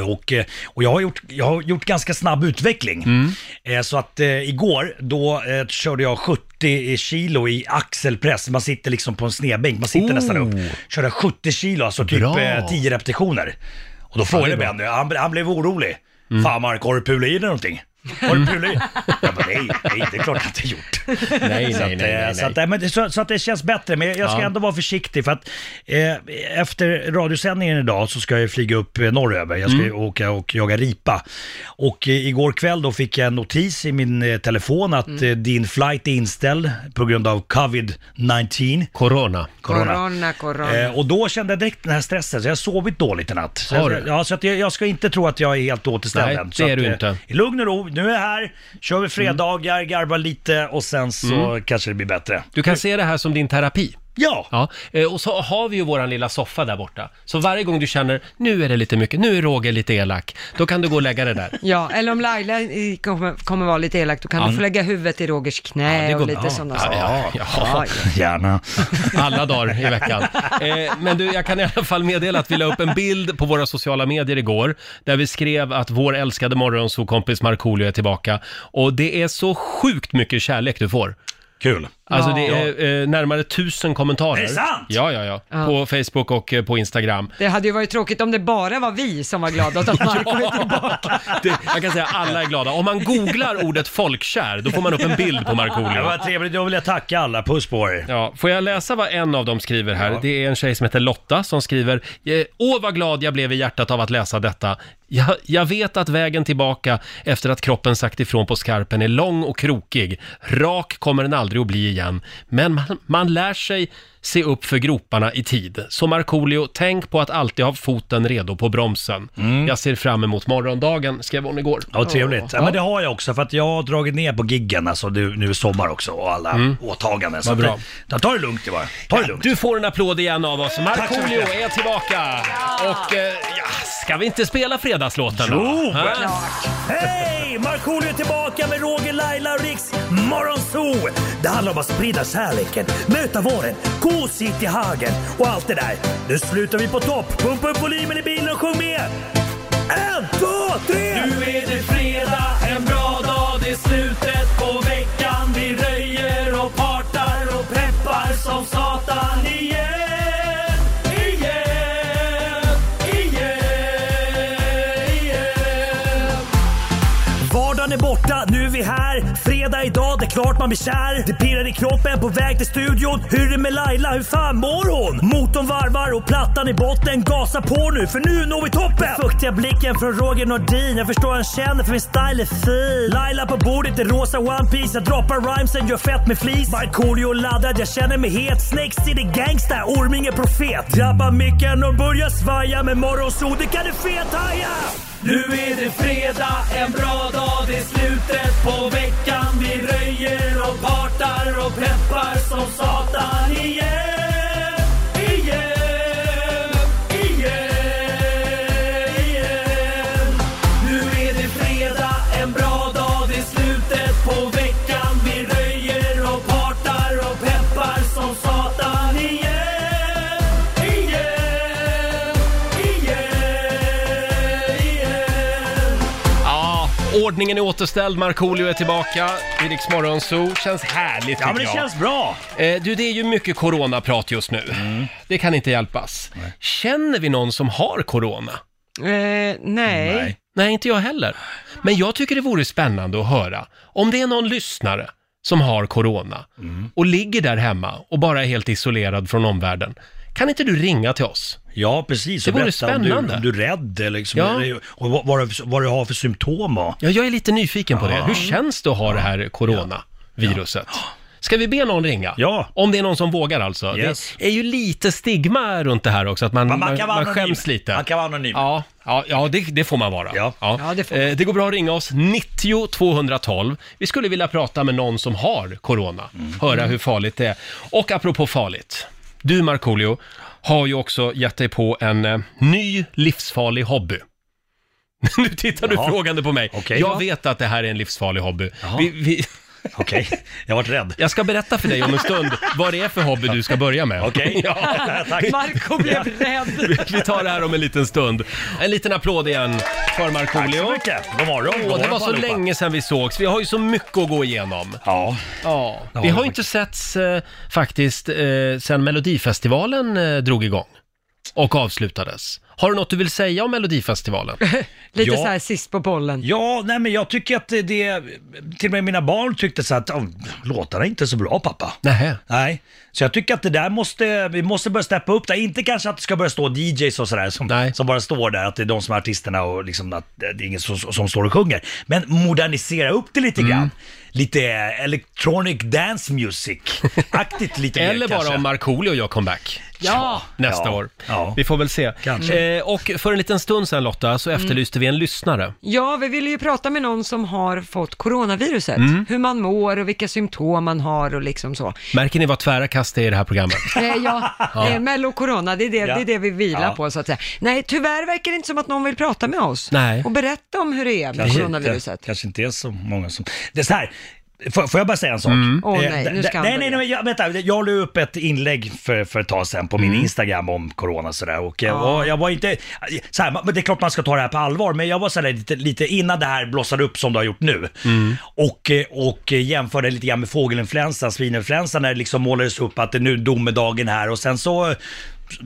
[SPEAKER 9] Och, eh, och jag, har gjort, jag har gjort ganska snabb utveckling.
[SPEAKER 1] Mm.
[SPEAKER 9] Eh, Så att eh, igår, då eh, körde jag 70 kilo i axelpress. Man sitter liksom på en snedbänk, man sitter
[SPEAKER 1] Oh.
[SPEAKER 9] nästan upp. Körde jag 70 kilo, alltså typ
[SPEAKER 1] Bra.
[SPEAKER 9] eh, 10 repetitioner. Och då frågade
[SPEAKER 1] det är Mm.
[SPEAKER 9] Benny, han, han blev orolig. Fan Mark, har du pulat i dig någonting? Har du pulat i dig? Jag bara, nej, nej, det är klart att jag gjort.
[SPEAKER 1] Nej,
[SPEAKER 9] Så att,
[SPEAKER 1] nej, nej, nej,
[SPEAKER 9] eh, Så,
[SPEAKER 1] nej.
[SPEAKER 9] att, nej, men det- så, så att det känns bättre, men jag ska
[SPEAKER 1] Ja.
[SPEAKER 9] ändå vara försiktig för att eh, efter radiosändningen idag så ska jag flyga upp eh, norröver. Jag ska ju
[SPEAKER 1] Mm.
[SPEAKER 9] åka och jaga ripa. Och eh, igår kväll då fick jag en notis i min eh, telefon att
[SPEAKER 1] Mm.
[SPEAKER 9] eh, din flight är inställd på grund av covid-19.
[SPEAKER 1] Corona.
[SPEAKER 2] Corona, corona.
[SPEAKER 9] Eh, och då kände jag direkt den här stressen, så jag har sovit dåligt i natt. Så,
[SPEAKER 1] Har
[SPEAKER 9] jag,
[SPEAKER 1] du?
[SPEAKER 9] ja, så att jag, jag ska inte tro att jag är helt återställd
[SPEAKER 1] Nej,
[SPEAKER 9] än.
[SPEAKER 1] det
[SPEAKER 9] Så
[SPEAKER 1] är
[SPEAKER 9] att,
[SPEAKER 1] du
[SPEAKER 9] eh,
[SPEAKER 1] inte. Mm.
[SPEAKER 9] I lugn och ro, nu är jag här, kör vi fredagar, garvar lite och sen så kanske det blir bättre.
[SPEAKER 1] Du kan se det här som din terapi.
[SPEAKER 9] Ja!
[SPEAKER 1] Mm. Ja, eh, och så har vi ju våran lilla soffa där borta. Så varje gång du känner, nu är det lite mycket, nu är Roger lite elak, då kan du gå och lägga det där.
[SPEAKER 2] Ja, eller om Laila i- kommer, kommer vara lite elak, då kan du få lägga huvudet i Rogers knä
[SPEAKER 1] det går
[SPEAKER 2] och lite
[SPEAKER 1] bra.
[SPEAKER 2] sådana
[SPEAKER 1] Ja,
[SPEAKER 2] saker.
[SPEAKER 1] ja, ja.
[SPEAKER 9] Gärna.
[SPEAKER 1] Alla dagar i veckan. Eh, men du, jag kan i alla fall meddela att vi la upp en bild på våra sociala medier igår, där vi skrev att vår älskade morgonsokompis Markoolio är tillbaka. Och det är så sjukt mycket kärlek du får.
[SPEAKER 9] Kul.
[SPEAKER 1] Alltså det är eh, närmare tusen kommentarer.
[SPEAKER 9] Är det sant?
[SPEAKER 1] Ja, ja, ja. På Facebook och eh, på Instagram.
[SPEAKER 2] Det hade ju varit tråkigt om det bara var vi som var glada åt att Marco är tillbaka.
[SPEAKER 1] Det, jag kan säga att alla är glada. Om man googlar ordet folkkär, då får man upp en bild på
[SPEAKER 9] Det
[SPEAKER 1] Markoolio.
[SPEAKER 9] var trevligt, då vill jag tacka alla. Puss på er.
[SPEAKER 1] Ja, får jag läsa vad en av dem skriver här? Det är en tjej som heter Lotta som skriver "Eh, Åh vad glad jag blev i hjärtat av att läsa detta. Jag, jag vet att vägen tillbaka efter att kroppen sagt ifrån på skarpen är lång och krokig. Rak kommer den aldrig att bli igen. Men man, man lär sig se upp för groparna i tid. Så Markoolio, tänk på att alltid ha foten redo på bromsen. Jag ser fram emot morgondagen, skrev hon igår.
[SPEAKER 9] Mm. Ja, trevligt. Ja, men det har jag också för att jag har dragit ner på giggen alltså, nu, nu i sommar också och alla åtaganden. Så
[SPEAKER 1] Mm. Vad bra.
[SPEAKER 9] att Det, ta det lugnt det bara. Ta det lugnt.
[SPEAKER 1] Du får en applåd igen av oss.
[SPEAKER 9] så
[SPEAKER 1] Markoolio
[SPEAKER 9] mycket.
[SPEAKER 1] är tillbaka! Och eh, ja, ska vi inte spela fredagslåten då?
[SPEAKER 9] Jo,
[SPEAKER 1] Ha?
[SPEAKER 9] Hej! Markoolio är tillbaka med Roger, Laila och Riks Morgonzoo! Det handlar om att sprida kärleken, möta våren, gosigt i hagen och allt det där. Nu slutar vi på topp! Pumpa upp volymen i bilen och sjung med! En, två, tre! Nu är det fredag, en bra dag, det är slutet på veckan. Vi röjer och partar och peppar som satan igen, igen, igen, igen. Vardagen är borta, nu är vi här. Fredag idag, det är klart man blir kär. Det pirrar i kroppen på väg till studion. Hur är det med Laila, hur fan mår hon? Motorn varvar och plattan i botten. Gasa på nu, för nu når vi toppen! Den fuktiga blicken från Roger Nordin. Jag förstår han känner, för min style är fin. Laila på bordet i rosa One Piece Jag droppar rhymesen, gör fett med flis. Markoolio laddad, jag känner mig het. Snake City Gangsta, Orming är profet. Drabbar micken och börjar svaja. Med morgonsol, det kan du fethaja! Nu är det fredag, en bra dag, det är slutet på veckan. Vi röjer och partar och peppar som satan igen. Igen, igen, igen. Nu är det fredag, en bra dag, det är slutet på veckan. Vi röjer och partar och peppar som satan igen. Igen, igen, igen.
[SPEAKER 1] Ja, ordningen är återställd. Markoolio är tillbaka i Rix Morgon Zoo. Känns härligt tycker
[SPEAKER 9] Ja, men det
[SPEAKER 1] jag.
[SPEAKER 9] känns Mm. bra.
[SPEAKER 1] Eh, du, det är ju mycket coronaprat just nu. Det kan inte hjälpas. Känner vi någon som har corona?
[SPEAKER 2] Eh, nej.
[SPEAKER 1] Nej, inte jag heller. Men jag tycker det vore spännande att höra om det är någon lyssnare som har corona
[SPEAKER 9] Mm.
[SPEAKER 1] och ligger där hemma och bara är helt isolerad från omvärlden. Kan inte du ringa till oss?
[SPEAKER 9] Ja, precis.
[SPEAKER 1] Det
[SPEAKER 9] Och
[SPEAKER 1] vore
[SPEAKER 9] berätta om du,
[SPEAKER 1] spännande.
[SPEAKER 9] om du är rädd eller liksom,
[SPEAKER 1] Ja.
[SPEAKER 9] eller- och vad, vad, du- vad du har för symptom. och-
[SPEAKER 1] Ja, jag är lite nyfiken på det. Hur känns det att ha det här coronaviruset? Ska vi be någon ringa?
[SPEAKER 9] Ja.
[SPEAKER 1] Om det är någon som vågar alltså.
[SPEAKER 9] Yes.
[SPEAKER 1] Det är ju lite stigma runt det här också, att man, man,
[SPEAKER 9] Men man
[SPEAKER 1] man,
[SPEAKER 9] kan vara anonym.
[SPEAKER 1] skäms lite.
[SPEAKER 9] Man kan vara anonym.
[SPEAKER 1] Ja, ja, ja det, det får man vara.
[SPEAKER 9] Ja.
[SPEAKER 2] Ja, det får man.
[SPEAKER 1] eh, det går bra att ringa oss, 90 212. Vi skulle vilja prata med någon som har corona,
[SPEAKER 9] Mm.
[SPEAKER 1] höra hur farligt det är. Och apropå farligt, du Markoolio har ju också gett dig på en eh, ny livsfarlig hobby. nu tittar du
[SPEAKER 9] Jaha.
[SPEAKER 1] frågande på mig.
[SPEAKER 9] Okej.
[SPEAKER 1] Jag
[SPEAKER 9] Ja.
[SPEAKER 1] vet att det här är en livsfarlig hobby. Vi, vi,
[SPEAKER 9] Okej, jag vart rädd.
[SPEAKER 1] jag ska berätta för dig om en stund vad det är för hobby du ska börja med.
[SPEAKER 9] Okej.
[SPEAKER 1] Ja.
[SPEAKER 9] Tack.
[SPEAKER 2] Marco blev rädd.
[SPEAKER 1] Vi- Vi tar det här om en liten stund. En liten applåd igen för
[SPEAKER 9] Tack så
[SPEAKER 1] Markoolio.
[SPEAKER 9] mycket. God morgon. God
[SPEAKER 1] Åh,
[SPEAKER 9] morgon
[SPEAKER 1] det var
[SPEAKER 9] på
[SPEAKER 1] så
[SPEAKER 9] allihopa.
[SPEAKER 1] länge sedan vi sågs. Vi har ju så mycket att gå igenom.
[SPEAKER 9] Ja,
[SPEAKER 1] Ja, vi
[SPEAKER 9] håller
[SPEAKER 1] har ju inte setts eh, faktiskt eh, sedan Melodifestivalen eh, drog igång och avslutades. Har du något du vill säga om Melodifestivalen?
[SPEAKER 2] Lite
[SPEAKER 9] Ja.
[SPEAKER 2] så här sist på bollen.
[SPEAKER 9] Ja, nej men jag tycker att det- det, till och med mina barn tyckte så att "Åh, låtarna är inte så bra pappa.
[SPEAKER 1] Nähä.
[SPEAKER 9] Nej, så jag tycker att det där måste, vi måste börja steppa upp där. Inte kanske att det ska börja stå DJs och sådär som,
[SPEAKER 1] Nej.
[SPEAKER 9] som bara står där, att det är de som är artisterna och liksom att det är ingen som, som står och sjunger. Men modernisera upp det lite
[SPEAKER 1] Mm.
[SPEAKER 9] grann. Lite electronic dance music-aktigt lite mer
[SPEAKER 1] Eller bara
[SPEAKER 9] kanske.
[SPEAKER 1] om Markoolio gör comeback.
[SPEAKER 2] Ja.
[SPEAKER 1] Nästa
[SPEAKER 9] Ja.
[SPEAKER 1] år.
[SPEAKER 9] Ja.
[SPEAKER 1] Vi får väl se.
[SPEAKER 9] Kanske.
[SPEAKER 1] Eh, och för en liten stund sedan Lotta, så efterlyste vi en lyssnare.
[SPEAKER 2] Ja, vi ville ju prata med någon som har fått coronaviruset. Hur man mår och vilka symptom man har och liksom så.
[SPEAKER 1] Märker ni vad tvära kast det är i det här programmet?
[SPEAKER 2] Eh, ja, eh, Mello Corona, det är det, det är det vi vilar
[SPEAKER 9] Ja.
[SPEAKER 2] på så att säga. Nej, tyvärr verkar det inte som att någon vill prata med oss
[SPEAKER 1] Nej.
[SPEAKER 2] och berätta om hur det är med
[SPEAKER 9] Kanske
[SPEAKER 2] coronaviruset.
[SPEAKER 9] Inte, kanske inte är så många som... Det är så här. Får, får jag bara säga en sak?
[SPEAKER 2] Åh,
[SPEAKER 9] Eh,
[SPEAKER 2] nej,
[SPEAKER 9] d-
[SPEAKER 2] nu
[SPEAKER 9] d-
[SPEAKER 2] ska han
[SPEAKER 9] nej, nej,
[SPEAKER 2] börja.
[SPEAKER 9] nej, men jag, vänta, jag la upp ett inlägg för, för ett tag sedan på min Instagram om corona sådär och, eh, och jag var inte... Så här, man- men det är klart man ska ta det här på allvar men jag var sådär lite, lite innan det här blossade upp som det har gjort nu och, eh, och eh, jämförde lite grann med fågelinfluensan, svininfluensan när det liksom målades upp att det nu är domedagen här och sen så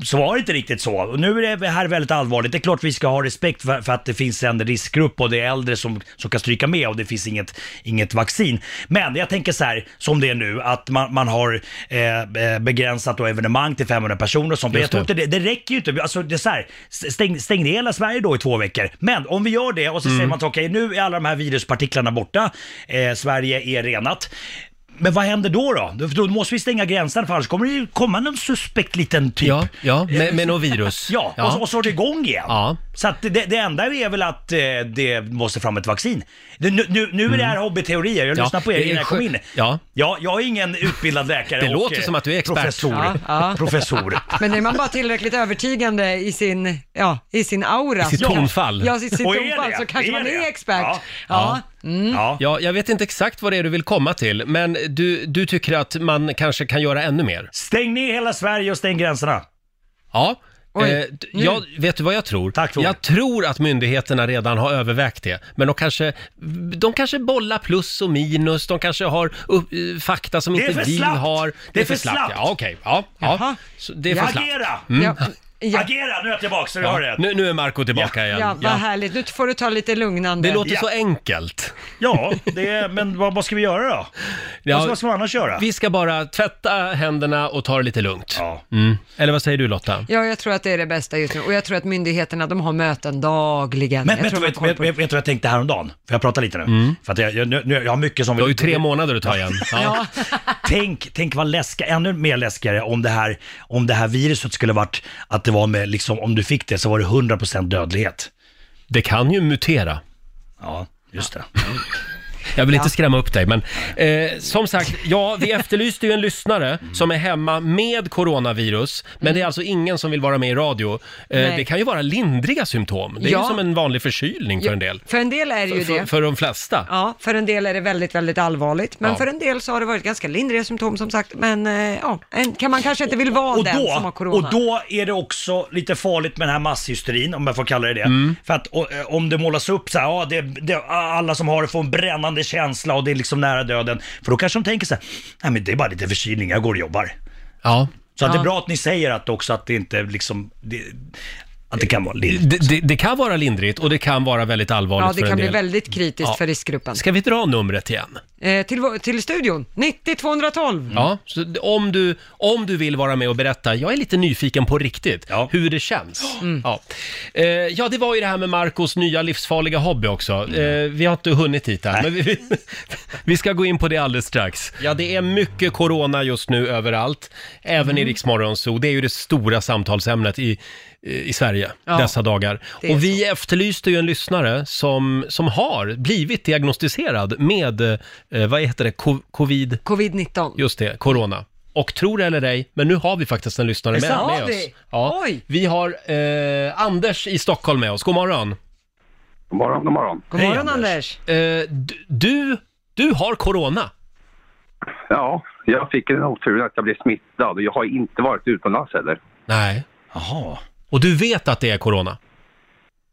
[SPEAKER 9] så var det inte riktigt så. Och nu är det här väldigt allvarligt. Det är klart vi ska ha respekt för, för att det finns en riskgrupp och det är äldre som, som kan stryka med och det finns inget, inget vaccin. Men jag tänker så här, som det är nu, att man, man har eh, eh, begränsat då evenemang till 500 personer och sånt. Men
[SPEAKER 1] Just
[SPEAKER 9] jag tror
[SPEAKER 1] det.
[SPEAKER 9] inte det, det räcker ju inte. Alltså, det är så här, stäng, stäng ner hela Sverige då i två veckor. Men om vi gör det och så säger man att okej, nu är alla de här viruspartiklarna borta, eh, Sverige är renat. Men vad händer då då? Då- Då måste vi stänga gränsen för annars kommer det ju komma någon suspekt liten typ.
[SPEAKER 1] Ja, ja med, med något virus.
[SPEAKER 9] Ja, Och, så, och så är det igång igen.
[SPEAKER 1] Ja.
[SPEAKER 9] Så att det, det enda är väl att eh, det måste fram ett vaccin. Nu, nu, nu är det här hobbyteorier,
[SPEAKER 1] Mm.
[SPEAKER 9] jag
[SPEAKER 1] Ja,
[SPEAKER 9] lyssnar på er
[SPEAKER 1] det är
[SPEAKER 9] innan jag kom
[SPEAKER 1] skö-
[SPEAKER 9] in.
[SPEAKER 1] ja.
[SPEAKER 9] ja, jag är ingen utbildad läkare
[SPEAKER 1] Det
[SPEAKER 9] och,
[SPEAKER 1] låter
[SPEAKER 9] eh,
[SPEAKER 1] som att du är expert.
[SPEAKER 9] Professor.
[SPEAKER 2] Ja, ja.
[SPEAKER 9] professor.
[SPEAKER 2] Men är man bara tillräckligt övertygande i sin, ja, i sin aura. I
[SPEAKER 1] sitt tonfall.
[SPEAKER 2] Ja, i sitt
[SPEAKER 9] Och är
[SPEAKER 2] tonfall
[SPEAKER 9] det?
[SPEAKER 2] så kanske
[SPEAKER 9] Är
[SPEAKER 2] man
[SPEAKER 9] det?
[SPEAKER 2] är expert.
[SPEAKER 9] Ja.
[SPEAKER 2] Ja. Mm.
[SPEAKER 9] Ja.
[SPEAKER 1] Ja, jag vet inte exakt vad det är du vill komma till, men du, du tycker att man kanske kan göra ännu mer?
[SPEAKER 9] Stäng ner hela Sverige och stäng gränserna.
[SPEAKER 1] Ja.
[SPEAKER 2] Oj,
[SPEAKER 1] eh, d- jag, vet du vad jag tror?
[SPEAKER 9] Tack, Roger.
[SPEAKER 1] jag tror att myndigheterna redan har övervägt det, men de kanske, de kanske bollar plus och minus, de kanske har upp, eh, fakta som
[SPEAKER 9] Det är
[SPEAKER 1] inte
[SPEAKER 9] för
[SPEAKER 1] vi
[SPEAKER 9] slappt.
[SPEAKER 1] har.
[SPEAKER 9] Det är för slappt.
[SPEAKER 1] Ja, okej. Ja, ja.
[SPEAKER 2] Jaha.
[SPEAKER 1] Så det är för slappt.
[SPEAKER 9] Agera!
[SPEAKER 2] Ja, ja,
[SPEAKER 9] Mm. Agera, nu är jag tillbaka så vi har
[SPEAKER 1] Mm. Ja.
[SPEAKER 9] det.
[SPEAKER 1] Nu, nu är Marco tillbaka igen.
[SPEAKER 2] ja, vad härligt. Nu får du ta lite lugnande.
[SPEAKER 1] Det låter
[SPEAKER 9] Ja.
[SPEAKER 1] så enkelt.
[SPEAKER 9] Ja, det är, men vad, vad ska vi göra då?
[SPEAKER 1] Ja,
[SPEAKER 9] Vad, vad ska man annars göra?
[SPEAKER 1] vi ska bara tvätta händerna och ta det lite lugnt.
[SPEAKER 9] Ja.
[SPEAKER 1] Mm. Eller vad säger du Lotta?
[SPEAKER 2] Ja, jag tror att det är det bästa just nu. Och jag tror att myndigheterna, de har möten dagligen.
[SPEAKER 9] Men
[SPEAKER 2] jag
[SPEAKER 9] vet du
[SPEAKER 2] tror
[SPEAKER 9] vad
[SPEAKER 2] de har koll
[SPEAKER 9] jag,
[SPEAKER 2] på
[SPEAKER 9] vet, vet, du vad jag tänkte häromdagen? För jag pratar lite nu. För att jag, jag, nu, nu, jag har mycket som...
[SPEAKER 1] Mm. Du har ju tre månader att ta igen. Ja.
[SPEAKER 9] Tänk, tänk vad läska, ännu mer läskigare om det här, om det här viruset skulle varit att det var med, liksom, om du fick det så var det 100% dödlighet.
[SPEAKER 1] Det kan ju mutera.
[SPEAKER 9] Ja, just det.
[SPEAKER 1] Jag vill inte skrämma upp dig, men eh, som sagt, ja, vi efterlyste ju en lyssnare som är hemma med coronavirus, men det är alltså ingen som vill vara med i radio. Eh,
[SPEAKER 2] Mm. Nej.
[SPEAKER 1] det kan ju vara lindriga symptom. Det är ju
[SPEAKER 2] Ja.
[SPEAKER 1] som en vanlig förkylning för en del.
[SPEAKER 2] För en del är det ju
[SPEAKER 1] För,
[SPEAKER 2] det.
[SPEAKER 1] för de flesta.
[SPEAKER 2] Ja, för en del är det väldigt, väldigt allvarligt. Men
[SPEAKER 1] Ja.
[SPEAKER 2] för en del så har det varit ganska lindriga symptom som sagt. Men eh, ja, en, kan man kanske inte vill vara
[SPEAKER 9] Och
[SPEAKER 2] den som har
[SPEAKER 9] då,
[SPEAKER 2] corona.
[SPEAKER 9] och då är det också lite farligt med den här masshysterin, om jag får kalla det det. För att och, eh, om det målas upp så här, ja, det, det, alla som har det får en brännande känsla och det är liksom nära döden. För då kanske de tänker så här, nej men det är bara lite förkylning, jag går och jobbar.
[SPEAKER 1] Ja.
[SPEAKER 9] Så att det är bra att ni säger att också att det inte liksom, det, att det kan vara
[SPEAKER 1] Det,
[SPEAKER 9] lindrigt.
[SPEAKER 1] det, det kan vara lindrigt och det kan vara väldigt allvarligt
[SPEAKER 2] ja, det
[SPEAKER 1] för
[SPEAKER 2] kan
[SPEAKER 1] en
[SPEAKER 2] bli
[SPEAKER 1] del.
[SPEAKER 2] väldigt kritiskt
[SPEAKER 1] Ja.
[SPEAKER 2] för riskgruppen.
[SPEAKER 1] Ska vi dra numret igen?
[SPEAKER 2] eh, till, vår- till studion. 90 212.
[SPEAKER 1] Ja, så om du, om du vill vara med och berätta, jag är lite nyfiken på riktigt,
[SPEAKER 9] Ja.
[SPEAKER 1] hur det känns. Ja. Eh, ja, det var ju det här med Marcos nya livsfarliga hobby också. Eh, vi har inte hunnit hit än, men vi- vi, vi ska gå in på det alldeles strax. Ja, det är mycket corona just nu överallt, även i Rix Morgon Zoo. Det är ju det stora samtalsämnet i eh, i Sverige
[SPEAKER 2] Ja,
[SPEAKER 1] dessa dagar.
[SPEAKER 2] det är
[SPEAKER 1] Och vi efterlyste ju en lyssnare som, som har blivit diagnostiserad med, eh, vad heter det, Co- covid...
[SPEAKER 2] Covid-19.
[SPEAKER 1] Just det, corona. Och tror det eller ej, men nu har vi faktiskt en lyssnare med,
[SPEAKER 2] sant?
[SPEAKER 1] med
[SPEAKER 2] Har
[SPEAKER 1] oss.
[SPEAKER 2] vi?
[SPEAKER 1] Ja,
[SPEAKER 2] Oj.
[SPEAKER 1] vi har eh, Anders i Stockholm med oss. God morgon.
[SPEAKER 10] God morgon, god morgon.
[SPEAKER 2] God
[SPEAKER 9] Hej,
[SPEAKER 2] morgon
[SPEAKER 9] Anders.
[SPEAKER 2] Anders.
[SPEAKER 1] Eh, d- du, du har corona.
[SPEAKER 10] Ja, jag fick en otur att jag blev smittad och jag har inte varit utomlands heller.
[SPEAKER 1] Nej.
[SPEAKER 9] Jaha.
[SPEAKER 1] Och du vet att det är corona?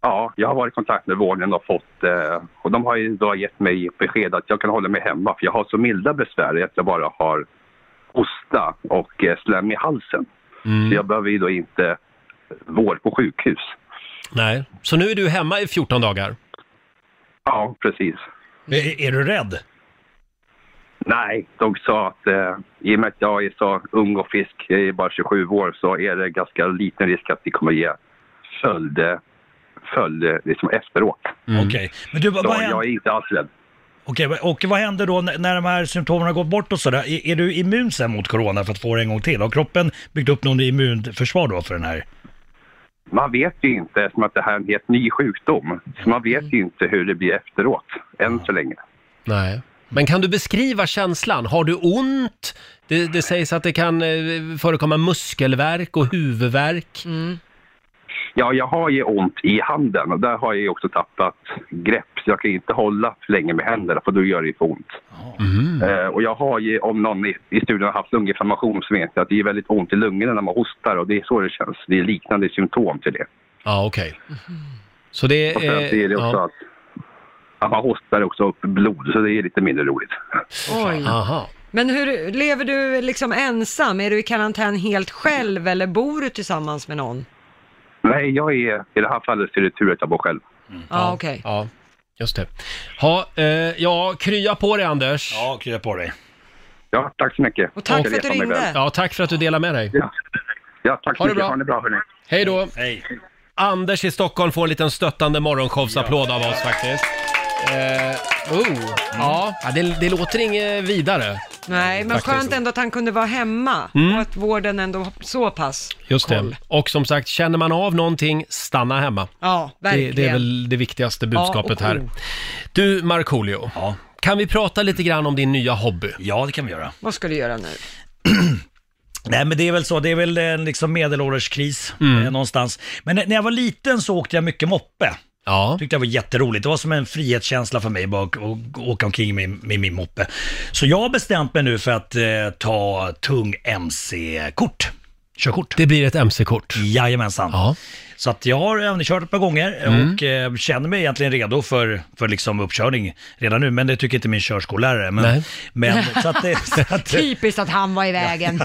[SPEAKER 10] Ja, jag har varit i kontakt med vården och fått, eh, och de har ju då gett mig besked att jag kan hålla mig hemma för jag har så milda besvär att jag bara har hosta och eh, slem i halsen. Så jag behöver ju då inte vård på sjukhus.
[SPEAKER 1] Nej. Så nu är du hemma i 14 dagar?
[SPEAKER 10] Ja, precis.
[SPEAKER 9] Eh, Är, är du rädd?
[SPEAKER 10] Nej, de sa att eh, i och med att jag är så ung och frisk, jag är bara 27 år, så är det ganska liten risk att det kommer ge följd, eh, följd eh, liksom efteråt.
[SPEAKER 9] Mm. Okej. Men du, vad,
[SPEAKER 10] Så
[SPEAKER 9] vad, händer,
[SPEAKER 10] jag är inte alls rädd.
[SPEAKER 9] okej, vad- och vad händer då när när de här symptomen har gått bort och sådär? Är, är du immun sen mot corona för att få det en gång till? Har kroppen byggt upp någon immunförsvar då för den här?
[SPEAKER 10] Man vet ju inte, eftersom att det här är en helt ny sjukdom, så man vet ju inte hur det blir efteråt, än så länge.
[SPEAKER 1] Nej. Men kan du beskriva känslan? Har du ont? Det, det sägs att det kan eh, förekomma muskelvärk och huvudvärk.
[SPEAKER 2] Mm.
[SPEAKER 10] Ja, jag har ju ont i handen och där har jag ju också tappat grepp så jag kan ju inte hålla för länge med händerna för då gör det ju för ont. Eh, och jag har ju, om någon i, i studion har haft lunginflammation så vet jag att det är väldigt ont i lungorna när man hostar och det är så det känns. Det är liknande symptom till det.
[SPEAKER 1] Ja, okej. Så det
[SPEAKER 10] Och sen
[SPEAKER 1] är...
[SPEAKER 10] är det också
[SPEAKER 1] ja.
[SPEAKER 10] att, att man hostar också upp blod så det är lite mindre roligt.
[SPEAKER 2] Oj.
[SPEAKER 1] Aha.
[SPEAKER 2] Men hur, lever du liksom ensam? Är du i karantän helt själv eller bor du tillsammans med någon?
[SPEAKER 10] Nej, jag är, i det här fallet så är det tur att jag bor själv.
[SPEAKER 2] Ja, okej.
[SPEAKER 1] Ja, just det. Ha, eh, ja, krya på dig Anders. Ja.
[SPEAKER 9] Ja, krya på dig.
[SPEAKER 10] Ja, tack så mycket.
[SPEAKER 2] Och tack för att du
[SPEAKER 10] Resan mig väl.
[SPEAKER 2] ringde.
[SPEAKER 1] tack för att du delar med dig.
[SPEAKER 10] Ja. ja, tack så
[SPEAKER 1] Ha det
[SPEAKER 10] mycket.
[SPEAKER 1] bra.
[SPEAKER 10] Ha det bra hörni.
[SPEAKER 1] Hej då.
[SPEAKER 9] Hej.
[SPEAKER 1] Anders i Stockholm får en liten stöttande morgonshowsapplåd av oss faktiskt. Eh, oh, ja, Ja, det, det låter inget vidare.
[SPEAKER 2] Nej, men
[SPEAKER 1] Faktiskt. Mm.
[SPEAKER 2] skönt ändå att han kunde vara hemma och att vården ändå har så pass
[SPEAKER 1] Just det.
[SPEAKER 2] koll.
[SPEAKER 1] Och som sagt, känner man av någonting, stanna hemma.
[SPEAKER 2] Ja,
[SPEAKER 1] Det,
[SPEAKER 2] verkligen.
[SPEAKER 1] det är väl det viktigaste budskapet
[SPEAKER 2] Ja, och
[SPEAKER 1] här.
[SPEAKER 2] cool.
[SPEAKER 1] Du, Markoolio,
[SPEAKER 9] Ja.
[SPEAKER 1] kan vi prata lite grann om din nya hobby?
[SPEAKER 9] ja, det kan vi göra.
[SPEAKER 2] Vad ska du göra nu?
[SPEAKER 9] Nej men det är väl så, det är väl en liksom medelålderskris eh, någonstans. Men när när jag var liten så åkte jag mycket moppe.
[SPEAKER 1] Ja.
[SPEAKER 9] tyckte jag var jätteroligt. Det var som en frihetskänsla för mig bara att att åka omkring med, med min moppe. Så jag har bestämt mig nu för att eh, ta tung MC-kort. Körkort.
[SPEAKER 1] Det blir ett MC-kort.
[SPEAKER 9] Jajamensan.
[SPEAKER 1] Ja.
[SPEAKER 9] Så att jag har övningskört ett par gånger
[SPEAKER 1] Mm.
[SPEAKER 9] och eh, känner mig egentligen redo för, för liksom uppkörning redan nu. Men det tycker inte min körskollärare. Men,
[SPEAKER 1] Nej.
[SPEAKER 9] men, så att det, så att,
[SPEAKER 2] Typiskt att han var i vägen.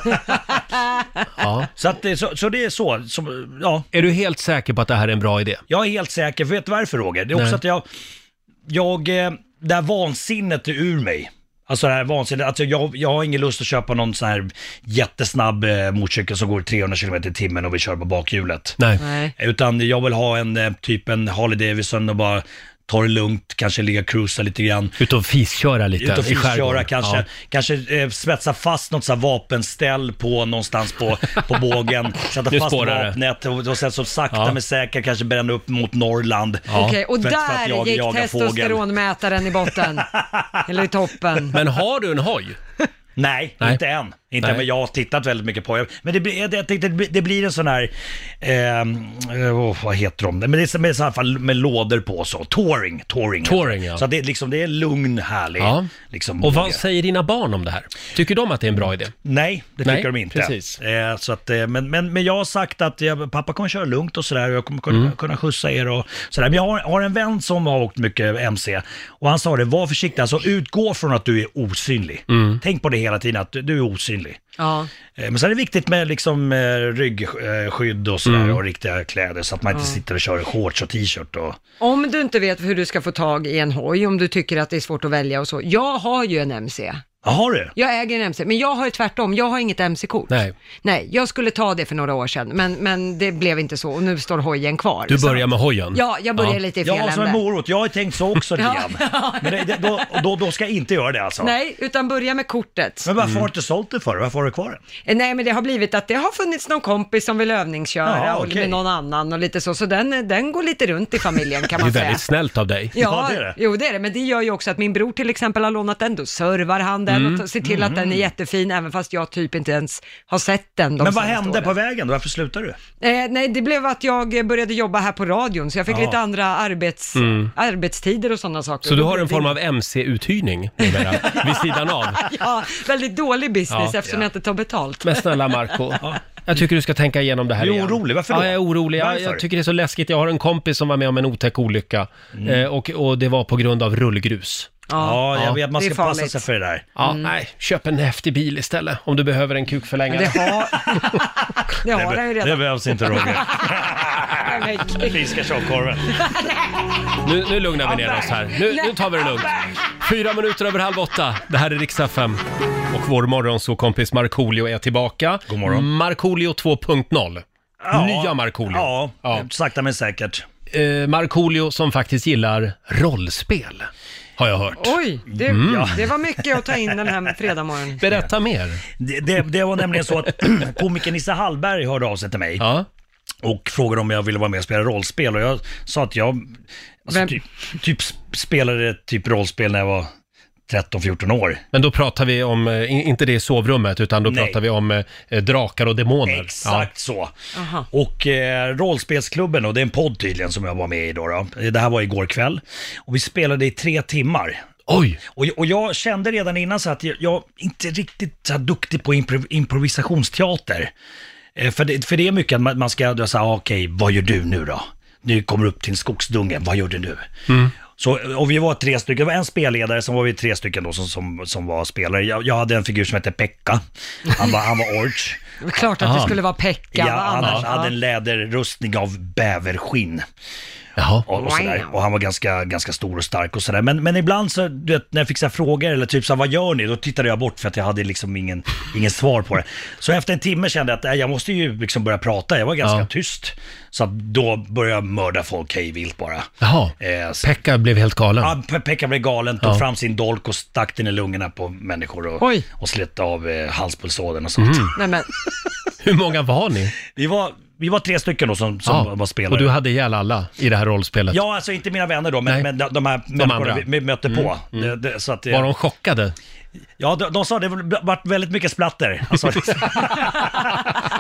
[SPEAKER 1] ja.
[SPEAKER 9] så, att, det- så, så det är så. så ja,
[SPEAKER 1] Är du helt säker på att det här är en bra idé?
[SPEAKER 9] Jag är helt säker, för vet du varför Roger? Det är
[SPEAKER 1] Nej.
[SPEAKER 9] också att jag, jag, eh, det här vansinnet är ur mig. Alltså det här vansinnet, alltså jag, jag har ingen lust att köpa någon sån här jättesnabb eh, motorcykel som går 300 km i timmen och vi kör på bakhjulet.
[SPEAKER 1] Nej.
[SPEAKER 2] Nej.
[SPEAKER 9] Utan jag vill ha en eh, typ en Harley Davidson och bara ta det lugnt, kanske ligga och cruisa lite grann.
[SPEAKER 1] Ut och fisköra lite
[SPEAKER 9] Ut och
[SPEAKER 1] i skärgården.
[SPEAKER 9] fiskköra kanske,
[SPEAKER 1] Ja.
[SPEAKER 9] kanske eh, svetsa fast något så här vapenställ på någonstans på, på bågen, sätta
[SPEAKER 1] Nu
[SPEAKER 9] fast
[SPEAKER 1] spårar det.
[SPEAKER 9] vapnet och, och sen så sakta
[SPEAKER 1] Ja.
[SPEAKER 9] men säkert kanske bränna upp mot Norrland.
[SPEAKER 1] Ja.
[SPEAKER 2] Okej, och
[SPEAKER 9] För- för att
[SPEAKER 2] där
[SPEAKER 9] jag
[SPEAKER 2] gick
[SPEAKER 9] jagar fågel.
[SPEAKER 2] testosteronmätaren i botten. Eller i toppen.
[SPEAKER 1] Men har du en hoj?
[SPEAKER 9] Nej,
[SPEAKER 1] Nej.
[SPEAKER 9] inte än. Inte
[SPEAKER 1] Nej.
[SPEAKER 9] än, men jag har tittat väldigt mycket på det. Men det blir, jag, jag tänkte, det blir- det blir en sån här, ehm, eh, åh, vad heter de? Men det är som- i alla fall med lådor på och så. Touring. Touring,
[SPEAKER 1] Touring, ja.
[SPEAKER 9] Så att det, är liksom, det är lugn, härlig.
[SPEAKER 1] Ja.
[SPEAKER 9] Liksom,
[SPEAKER 1] Och
[SPEAKER 9] båge.
[SPEAKER 1] vad säger dina barn om det här? Tycker de att det är en bra idé?
[SPEAKER 9] Nej, det
[SPEAKER 1] Nej,
[SPEAKER 9] tycker de inte.
[SPEAKER 1] precis.
[SPEAKER 9] Eh, så att, eh, men, men, men jag har sagt att jag, pappa kommer köra lugnt och sådär och jag kommer kunna,
[SPEAKER 1] Mm.
[SPEAKER 9] kunna skjutsa er och sådär. Men jag har, har en vän som har
[SPEAKER 1] Mm.
[SPEAKER 9] åkt mycket MC och han sa det, var försiktig, alltså utgå från att du är osynlig. Tänk på det hela tiden att du- du är osynlig.
[SPEAKER 2] Ja.
[SPEAKER 9] Eh, Men sen är det viktigt med liksom eh, ryggskydd och sådär och riktiga kläder så att man inte
[SPEAKER 2] Ja.
[SPEAKER 9] sitter och kör i shorts och t-shirt och...
[SPEAKER 2] Om du inte vet hur du ska få tag i en hoj, om du tycker att det är svårt att välja och så. Jag har ju en MC.
[SPEAKER 9] Ja, har du?
[SPEAKER 2] Jag äger en MC, men jag har ju tvärtom, jag har inget MC-kort.
[SPEAKER 1] Nej.
[SPEAKER 2] Nej, jag skulle ta det för några år sedan, men, men det blev inte så och nu står hojen kvar.
[SPEAKER 1] Du
[SPEAKER 2] Så-
[SPEAKER 1] börjar med hojen?
[SPEAKER 2] Ja, jag börjar lite i fel
[SPEAKER 9] Ja, som en
[SPEAKER 2] ände.
[SPEAKER 9] morot. Jag har tänkt så också lite
[SPEAKER 2] Ja.
[SPEAKER 9] grann. Men det, det, då, då, då ska jag inte göra det alltså.
[SPEAKER 2] Nej, utan börja med kortet.
[SPEAKER 9] Men varför har du inte sålt det för? Varför har du kvar
[SPEAKER 2] Eh,
[SPEAKER 9] den?
[SPEAKER 2] Nej, men det har blivit att det har funnits någon kompis som vill övningsköra
[SPEAKER 9] Ja,
[SPEAKER 2] och
[SPEAKER 9] okej.
[SPEAKER 2] med någon annan och lite så, så den, eh, den går lite runt i familjen kan
[SPEAKER 1] Det är
[SPEAKER 2] man säga.
[SPEAKER 1] väldigt snällt av dig.
[SPEAKER 2] Ja, det är det. Jo, det är det, men det gör ju också att min bror till exempel har lånat den, då servar han den
[SPEAKER 1] Mm.
[SPEAKER 2] och t- ser till att den är jättefin, även fast jag typ inte ens har sett den. de
[SPEAKER 9] Men vad
[SPEAKER 2] senaste
[SPEAKER 9] hände
[SPEAKER 2] åren.
[SPEAKER 9] på vägen då? Varför slutade du?
[SPEAKER 2] Eh, nej, det blev att jag började jobba här på radion, så jag fick
[SPEAKER 9] Ja.
[SPEAKER 2] lite andra arbets,
[SPEAKER 1] Mm.
[SPEAKER 2] arbetstider och sådana saker.
[SPEAKER 1] Så du
[SPEAKER 2] Då
[SPEAKER 1] har
[SPEAKER 2] blev
[SPEAKER 1] en
[SPEAKER 2] det
[SPEAKER 1] form av MC-uthyrning numera, vid sidan av?
[SPEAKER 2] Ja, väldigt dålig business
[SPEAKER 1] Ja.
[SPEAKER 2] eftersom
[SPEAKER 1] Ja.
[SPEAKER 2] jag inte tar betalt.
[SPEAKER 1] Men snälla Marco jag tycker du ska tänka igenom det här
[SPEAKER 9] Du är
[SPEAKER 1] igen.
[SPEAKER 9] orolig, varför då?
[SPEAKER 1] Ja, jag är orolig. Jag,
[SPEAKER 9] Varför?
[SPEAKER 1] jag tycker det är så läskigt. Jag har en kompis som var med om en otäck olycka
[SPEAKER 9] Mm.
[SPEAKER 1] eh, och, och det var på grund av rullgrus.
[SPEAKER 9] Ja, jag vet. Man
[SPEAKER 2] det
[SPEAKER 9] ska
[SPEAKER 2] är
[SPEAKER 9] passa
[SPEAKER 2] farligt.
[SPEAKER 9] sig för det där.
[SPEAKER 1] Ja, nej, köp en häftig bil istället om du behöver en kukförlängare.
[SPEAKER 2] Det har, det har jag ju redan.
[SPEAKER 9] behövs inte Roger.
[SPEAKER 2] Nej,
[SPEAKER 9] Fiska tjockkorven.
[SPEAKER 1] Nu, nu lugnar vi ner oss här. Nu, nu tar vi det lugnt. Fyra minuter över halv åtta. Det här är riksdag 5. Och vår morgonsåkompis Markoolio är tillbaka. God
[SPEAKER 9] morgon.
[SPEAKER 1] Markoolio 2.0.
[SPEAKER 9] Ja.
[SPEAKER 1] Nya Markoolio.
[SPEAKER 9] Ja, sakta men säkert.
[SPEAKER 1] Eh, Markoolio som faktiskt gillar rollspel, har jag hört.
[SPEAKER 2] Oj, det,
[SPEAKER 1] Mm.
[SPEAKER 2] det var mycket att ta in den här fredagmorgonen.
[SPEAKER 1] Berätta mer.
[SPEAKER 9] Det, det, det var nämligen så att komikern Nisse Hallberg hörde av sig till mig och frågade om jag ville vara med och spela rollspel och jag sa att jag alltså,
[SPEAKER 2] Vem-
[SPEAKER 9] typ, typ spelade typ rollspel när jag var 13-14 år.
[SPEAKER 1] Men då pratar vi om, eh, in- inte det i sovrummet, utan då
[SPEAKER 9] Nej.
[SPEAKER 1] pratar vi om eh, drakar och demoner.
[SPEAKER 9] Exakt så. Och eh, Rollspelsklubben, och det är en podd tydligen som jag var med i då, då. Det här var igår kväll. Och vi spelade i tre timmar.
[SPEAKER 1] Oj!
[SPEAKER 9] Och, och jag kände redan innan så att jag, jag är inte riktigt så här duktig på impro, improvisationsteater. Eh, för, det, för det är mycket att man, man ska då säga, ah, okej, vad gör du nu då? Nu kommer upp till en skogsdunge, vad gör du nu? Så, och vi var tre stycken, det var en spelledare, som var vi tre stycken då som, som, som var spelare. Jag, jag hade en figur som hette Pekka, han var, han var orch.
[SPEAKER 2] Det var klart att det skulle vara Pekka,
[SPEAKER 9] Ja,
[SPEAKER 2] vad
[SPEAKER 9] han
[SPEAKER 2] annars?
[SPEAKER 9] hade en
[SPEAKER 2] Ja.
[SPEAKER 9] läderrustning av bäverskinn. Och, och, sådär. och han var ganska, ganska stor och stark och sådär. Men, men ibland så, du vet, när jag fick så här frågor eller typ så här, vad gör ni? Då tittade jag bort för att jag hade liksom ingen, ingen svar på det. Så efter en timme kände jag att nej, jag måste ju liksom börja prata. Jag var ganska tyst. Så att då började jag mörda folk hej vilt bara.
[SPEAKER 1] Jaha,
[SPEAKER 9] Eh, så-
[SPEAKER 1] Pekka blev helt galen.
[SPEAKER 9] Ja, Pe- Pekka blev galen, tog
[SPEAKER 1] Ja.
[SPEAKER 9] fram sin dolk och stack den i lungorna på människor och,
[SPEAKER 2] Oj.
[SPEAKER 9] och slet av eh, halspulsådern och sånt.
[SPEAKER 1] Mm.
[SPEAKER 2] Nej men,
[SPEAKER 1] Hur många var ni?
[SPEAKER 9] Vi, var, vi var tre stycken då som, som
[SPEAKER 1] Ja,
[SPEAKER 9] var spelare.
[SPEAKER 1] Och du hade ihjäl alla i det här rollspelet.
[SPEAKER 9] Ja, alltså inte mina vänner då, men,
[SPEAKER 1] Nej.
[SPEAKER 9] men de, de här människorna
[SPEAKER 1] andra. Mm.
[SPEAKER 9] vi, vi mötte på. Det, det, så att, det-
[SPEAKER 1] Var de chockade?
[SPEAKER 9] Ja, de, de sa det var väldigt mycket splatter. Alltså,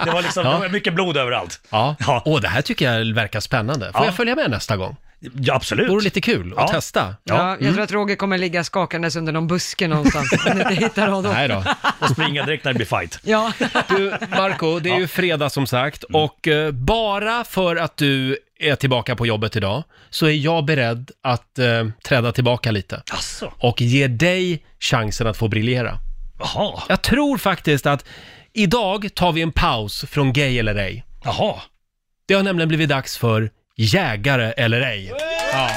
[SPEAKER 9] det var liksom det var mycket blod överallt.
[SPEAKER 1] Ja.
[SPEAKER 9] Ja.
[SPEAKER 1] Åh, det här tycker jag verkar spännande. Får
[SPEAKER 9] Ja.
[SPEAKER 1] jag följa med nästa gång?
[SPEAKER 9] Ja, absolut.
[SPEAKER 1] Vore lite kul att
[SPEAKER 9] Ja.
[SPEAKER 1] testa.
[SPEAKER 2] ja, jag tror att Roger kommer ligga skakandes under någon buske någonstans om ni inte hittar honom.
[SPEAKER 1] Nej då.
[SPEAKER 9] Och springa direkt när det blir fight.
[SPEAKER 2] Ja,
[SPEAKER 1] Du, Marco, det är ju fredag som sagt
[SPEAKER 9] Mm.
[SPEAKER 1] och eh, bara för att du är tillbaka på jobbet idag så är jag beredd att eh, träda tillbaka lite
[SPEAKER 9] Alltså,
[SPEAKER 1] och ge dig chansen att få briljera.
[SPEAKER 9] jaha.
[SPEAKER 1] Jag tror faktiskt att idag tar vi en paus från Gay eller ej.
[SPEAKER 9] Jaha.
[SPEAKER 1] Det har nämligen blivit dags för Jägare eller ej. Ja.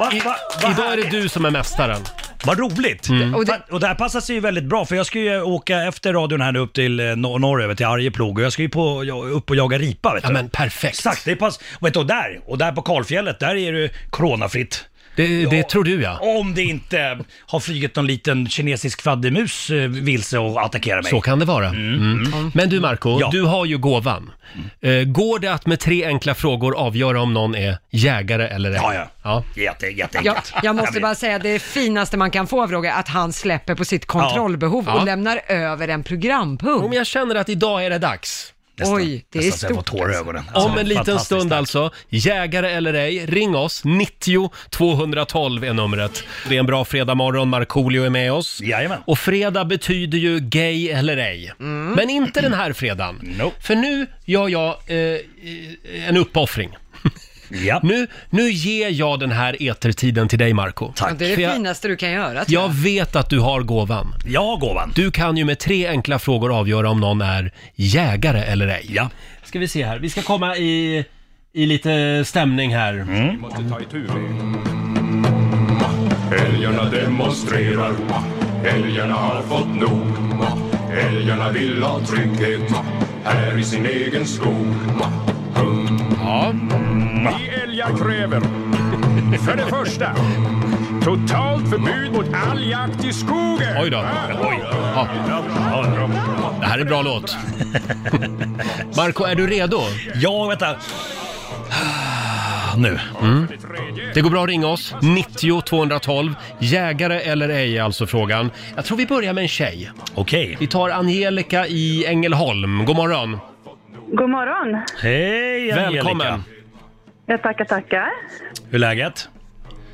[SPEAKER 9] Va,
[SPEAKER 1] I,
[SPEAKER 9] va, va,
[SPEAKER 1] idag är det du som är mästaren.
[SPEAKER 9] Vad roligt!
[SPEAKER 2] Och
[SPEAKER 1] Mm.
[SPEAKER 9] Och,
[SPEAKER 2] det-
[SPEAKER 9] det... och det här passar sig ju väldigt bra för jag ska ju åka efter radion här nu upp till eh, nor- norröver till Arjeplog och jag ska ju på, ja, upp och jaga ripa vet du.
[SPEAKER 1] Ja men perfekt.
[SPEAKER 9] Exakt, det pass... och Vet du, och där, och där på Karlfjället, där är det coronafritt.
[SPEAKER 1] Det, det tror du ja.
[SPEAKER 9] Om det inte har flugit någon liten kinesisk fladdermus eh, vilse och attackerar mig.
[SPEAKER 1] Så kan det vara. Mm. Men du Marco,
[SPEAKER 9] Ja. Mm.
[SPEAKER 1] du har ju gåvan. Eh, går det att med tre enkla frågor avgöra om någon är jägare eller ej?
[SPEAKER 9] Ja, ja.
[SPEAKER 1] ja.
[SPEAKER 9] Jätte,
[SPEAKER 2] jag,
[SPEAKER 9] jätteenkelt.
[SPEAKER 2] jag måste
[SPEAKER 9] vet.
[SPEAKER 2] bara säga det finaste man kan få av Roger, att han släpper på sitt kontrollbehov
[SPEAKER 1] Ja.
[SPEAKER 2] och lämnar över en
[SPEAKER 1] Om
[SPEAKER 2] programpunkt.
[SPEAKER 1] jag känner att idag är det dags.
[SPEAKER 9] Nästan-
[SPEAKER 2] Oj, det är
[SPEAKER 9] nästan så jag får
[SPEAKER 2] stort alltså.
[SPEAKER 9] tårar i ögonen.
[SPEAKER 1] Om en liten
[SPEAKER 9] fantastiskt
[SPEAKER 1] stund
[SPEAKER 9] tack.
[SPEAKER 1] alltså. Jägare eller ej, ring oss. 90 212 är numret. Det är en bra fredagmorgon. Markoolio är med oss.
[SPEAKER 9] Jajamän.
[SPEAKER 1] Och fredag betyder ju gay eller ej.
[SPEAKER 2] Mm.
[SPEAKER 1] Men inte den här fredagen.
[SPEAKER 9] Nope.
[SPEAKER 1] För nu gör jag eh, en eh, uppoffring. Nu, nu ger jag den här etertiden till dig, Marco
[SPEAKER 2] Ja, det är
[SPEAKER 1] För
[SPEAKER 2] det
[SPEAKER 1] jag,
[SPEAKER 2] finaste du kan göra. tror
[SPEAKER 1] jag vet att du har gåvan.
[SPEAKER 9] Jag har gåvan.
[SPEAKER 1] Du kan ju med tre enkla frågor avgöra om någon är jägare eller ej. Ja. Ska vi se här, vi ska komma i, i lite stämning här.
[SPEAKER 2] Mm.
[SPEAKER 3] Vi måste ta itu. Älgarna demonstrerar. Älgarna har fått nog. Älgarna vill ha trygghet här i sin egen skog. Mm.
[SPEAKER 1] Ja.
[SPEAKER 3] Vi älgar kräver för det första totalt förbud mot all jakt i skogen. Ah.
[SPEAKER 1] Oj då. Oj. Ja. Det här är en bra låt. Marco, är du redo?
[SPEAKER 9] Ja, vänta. Nu.
[SPEAKER 1] Det går bra att ringa oss. 90 212. Jägare eller ej är alltså frågan. Jag tror vi börjar med en tjej.
[SPEAKER 9] Okej.
[SPEAKER 1] Vi tar Angelica i Ängelholm. God morgon.
[SPEAKER 11] God morgon.
[SPEAKER 9] Hej Angelica.
[SPEAKER 1] Välkommen.
[SPEAKER 11] Jag tackar, tackar.
[SPEAKER 9] Hur är läget?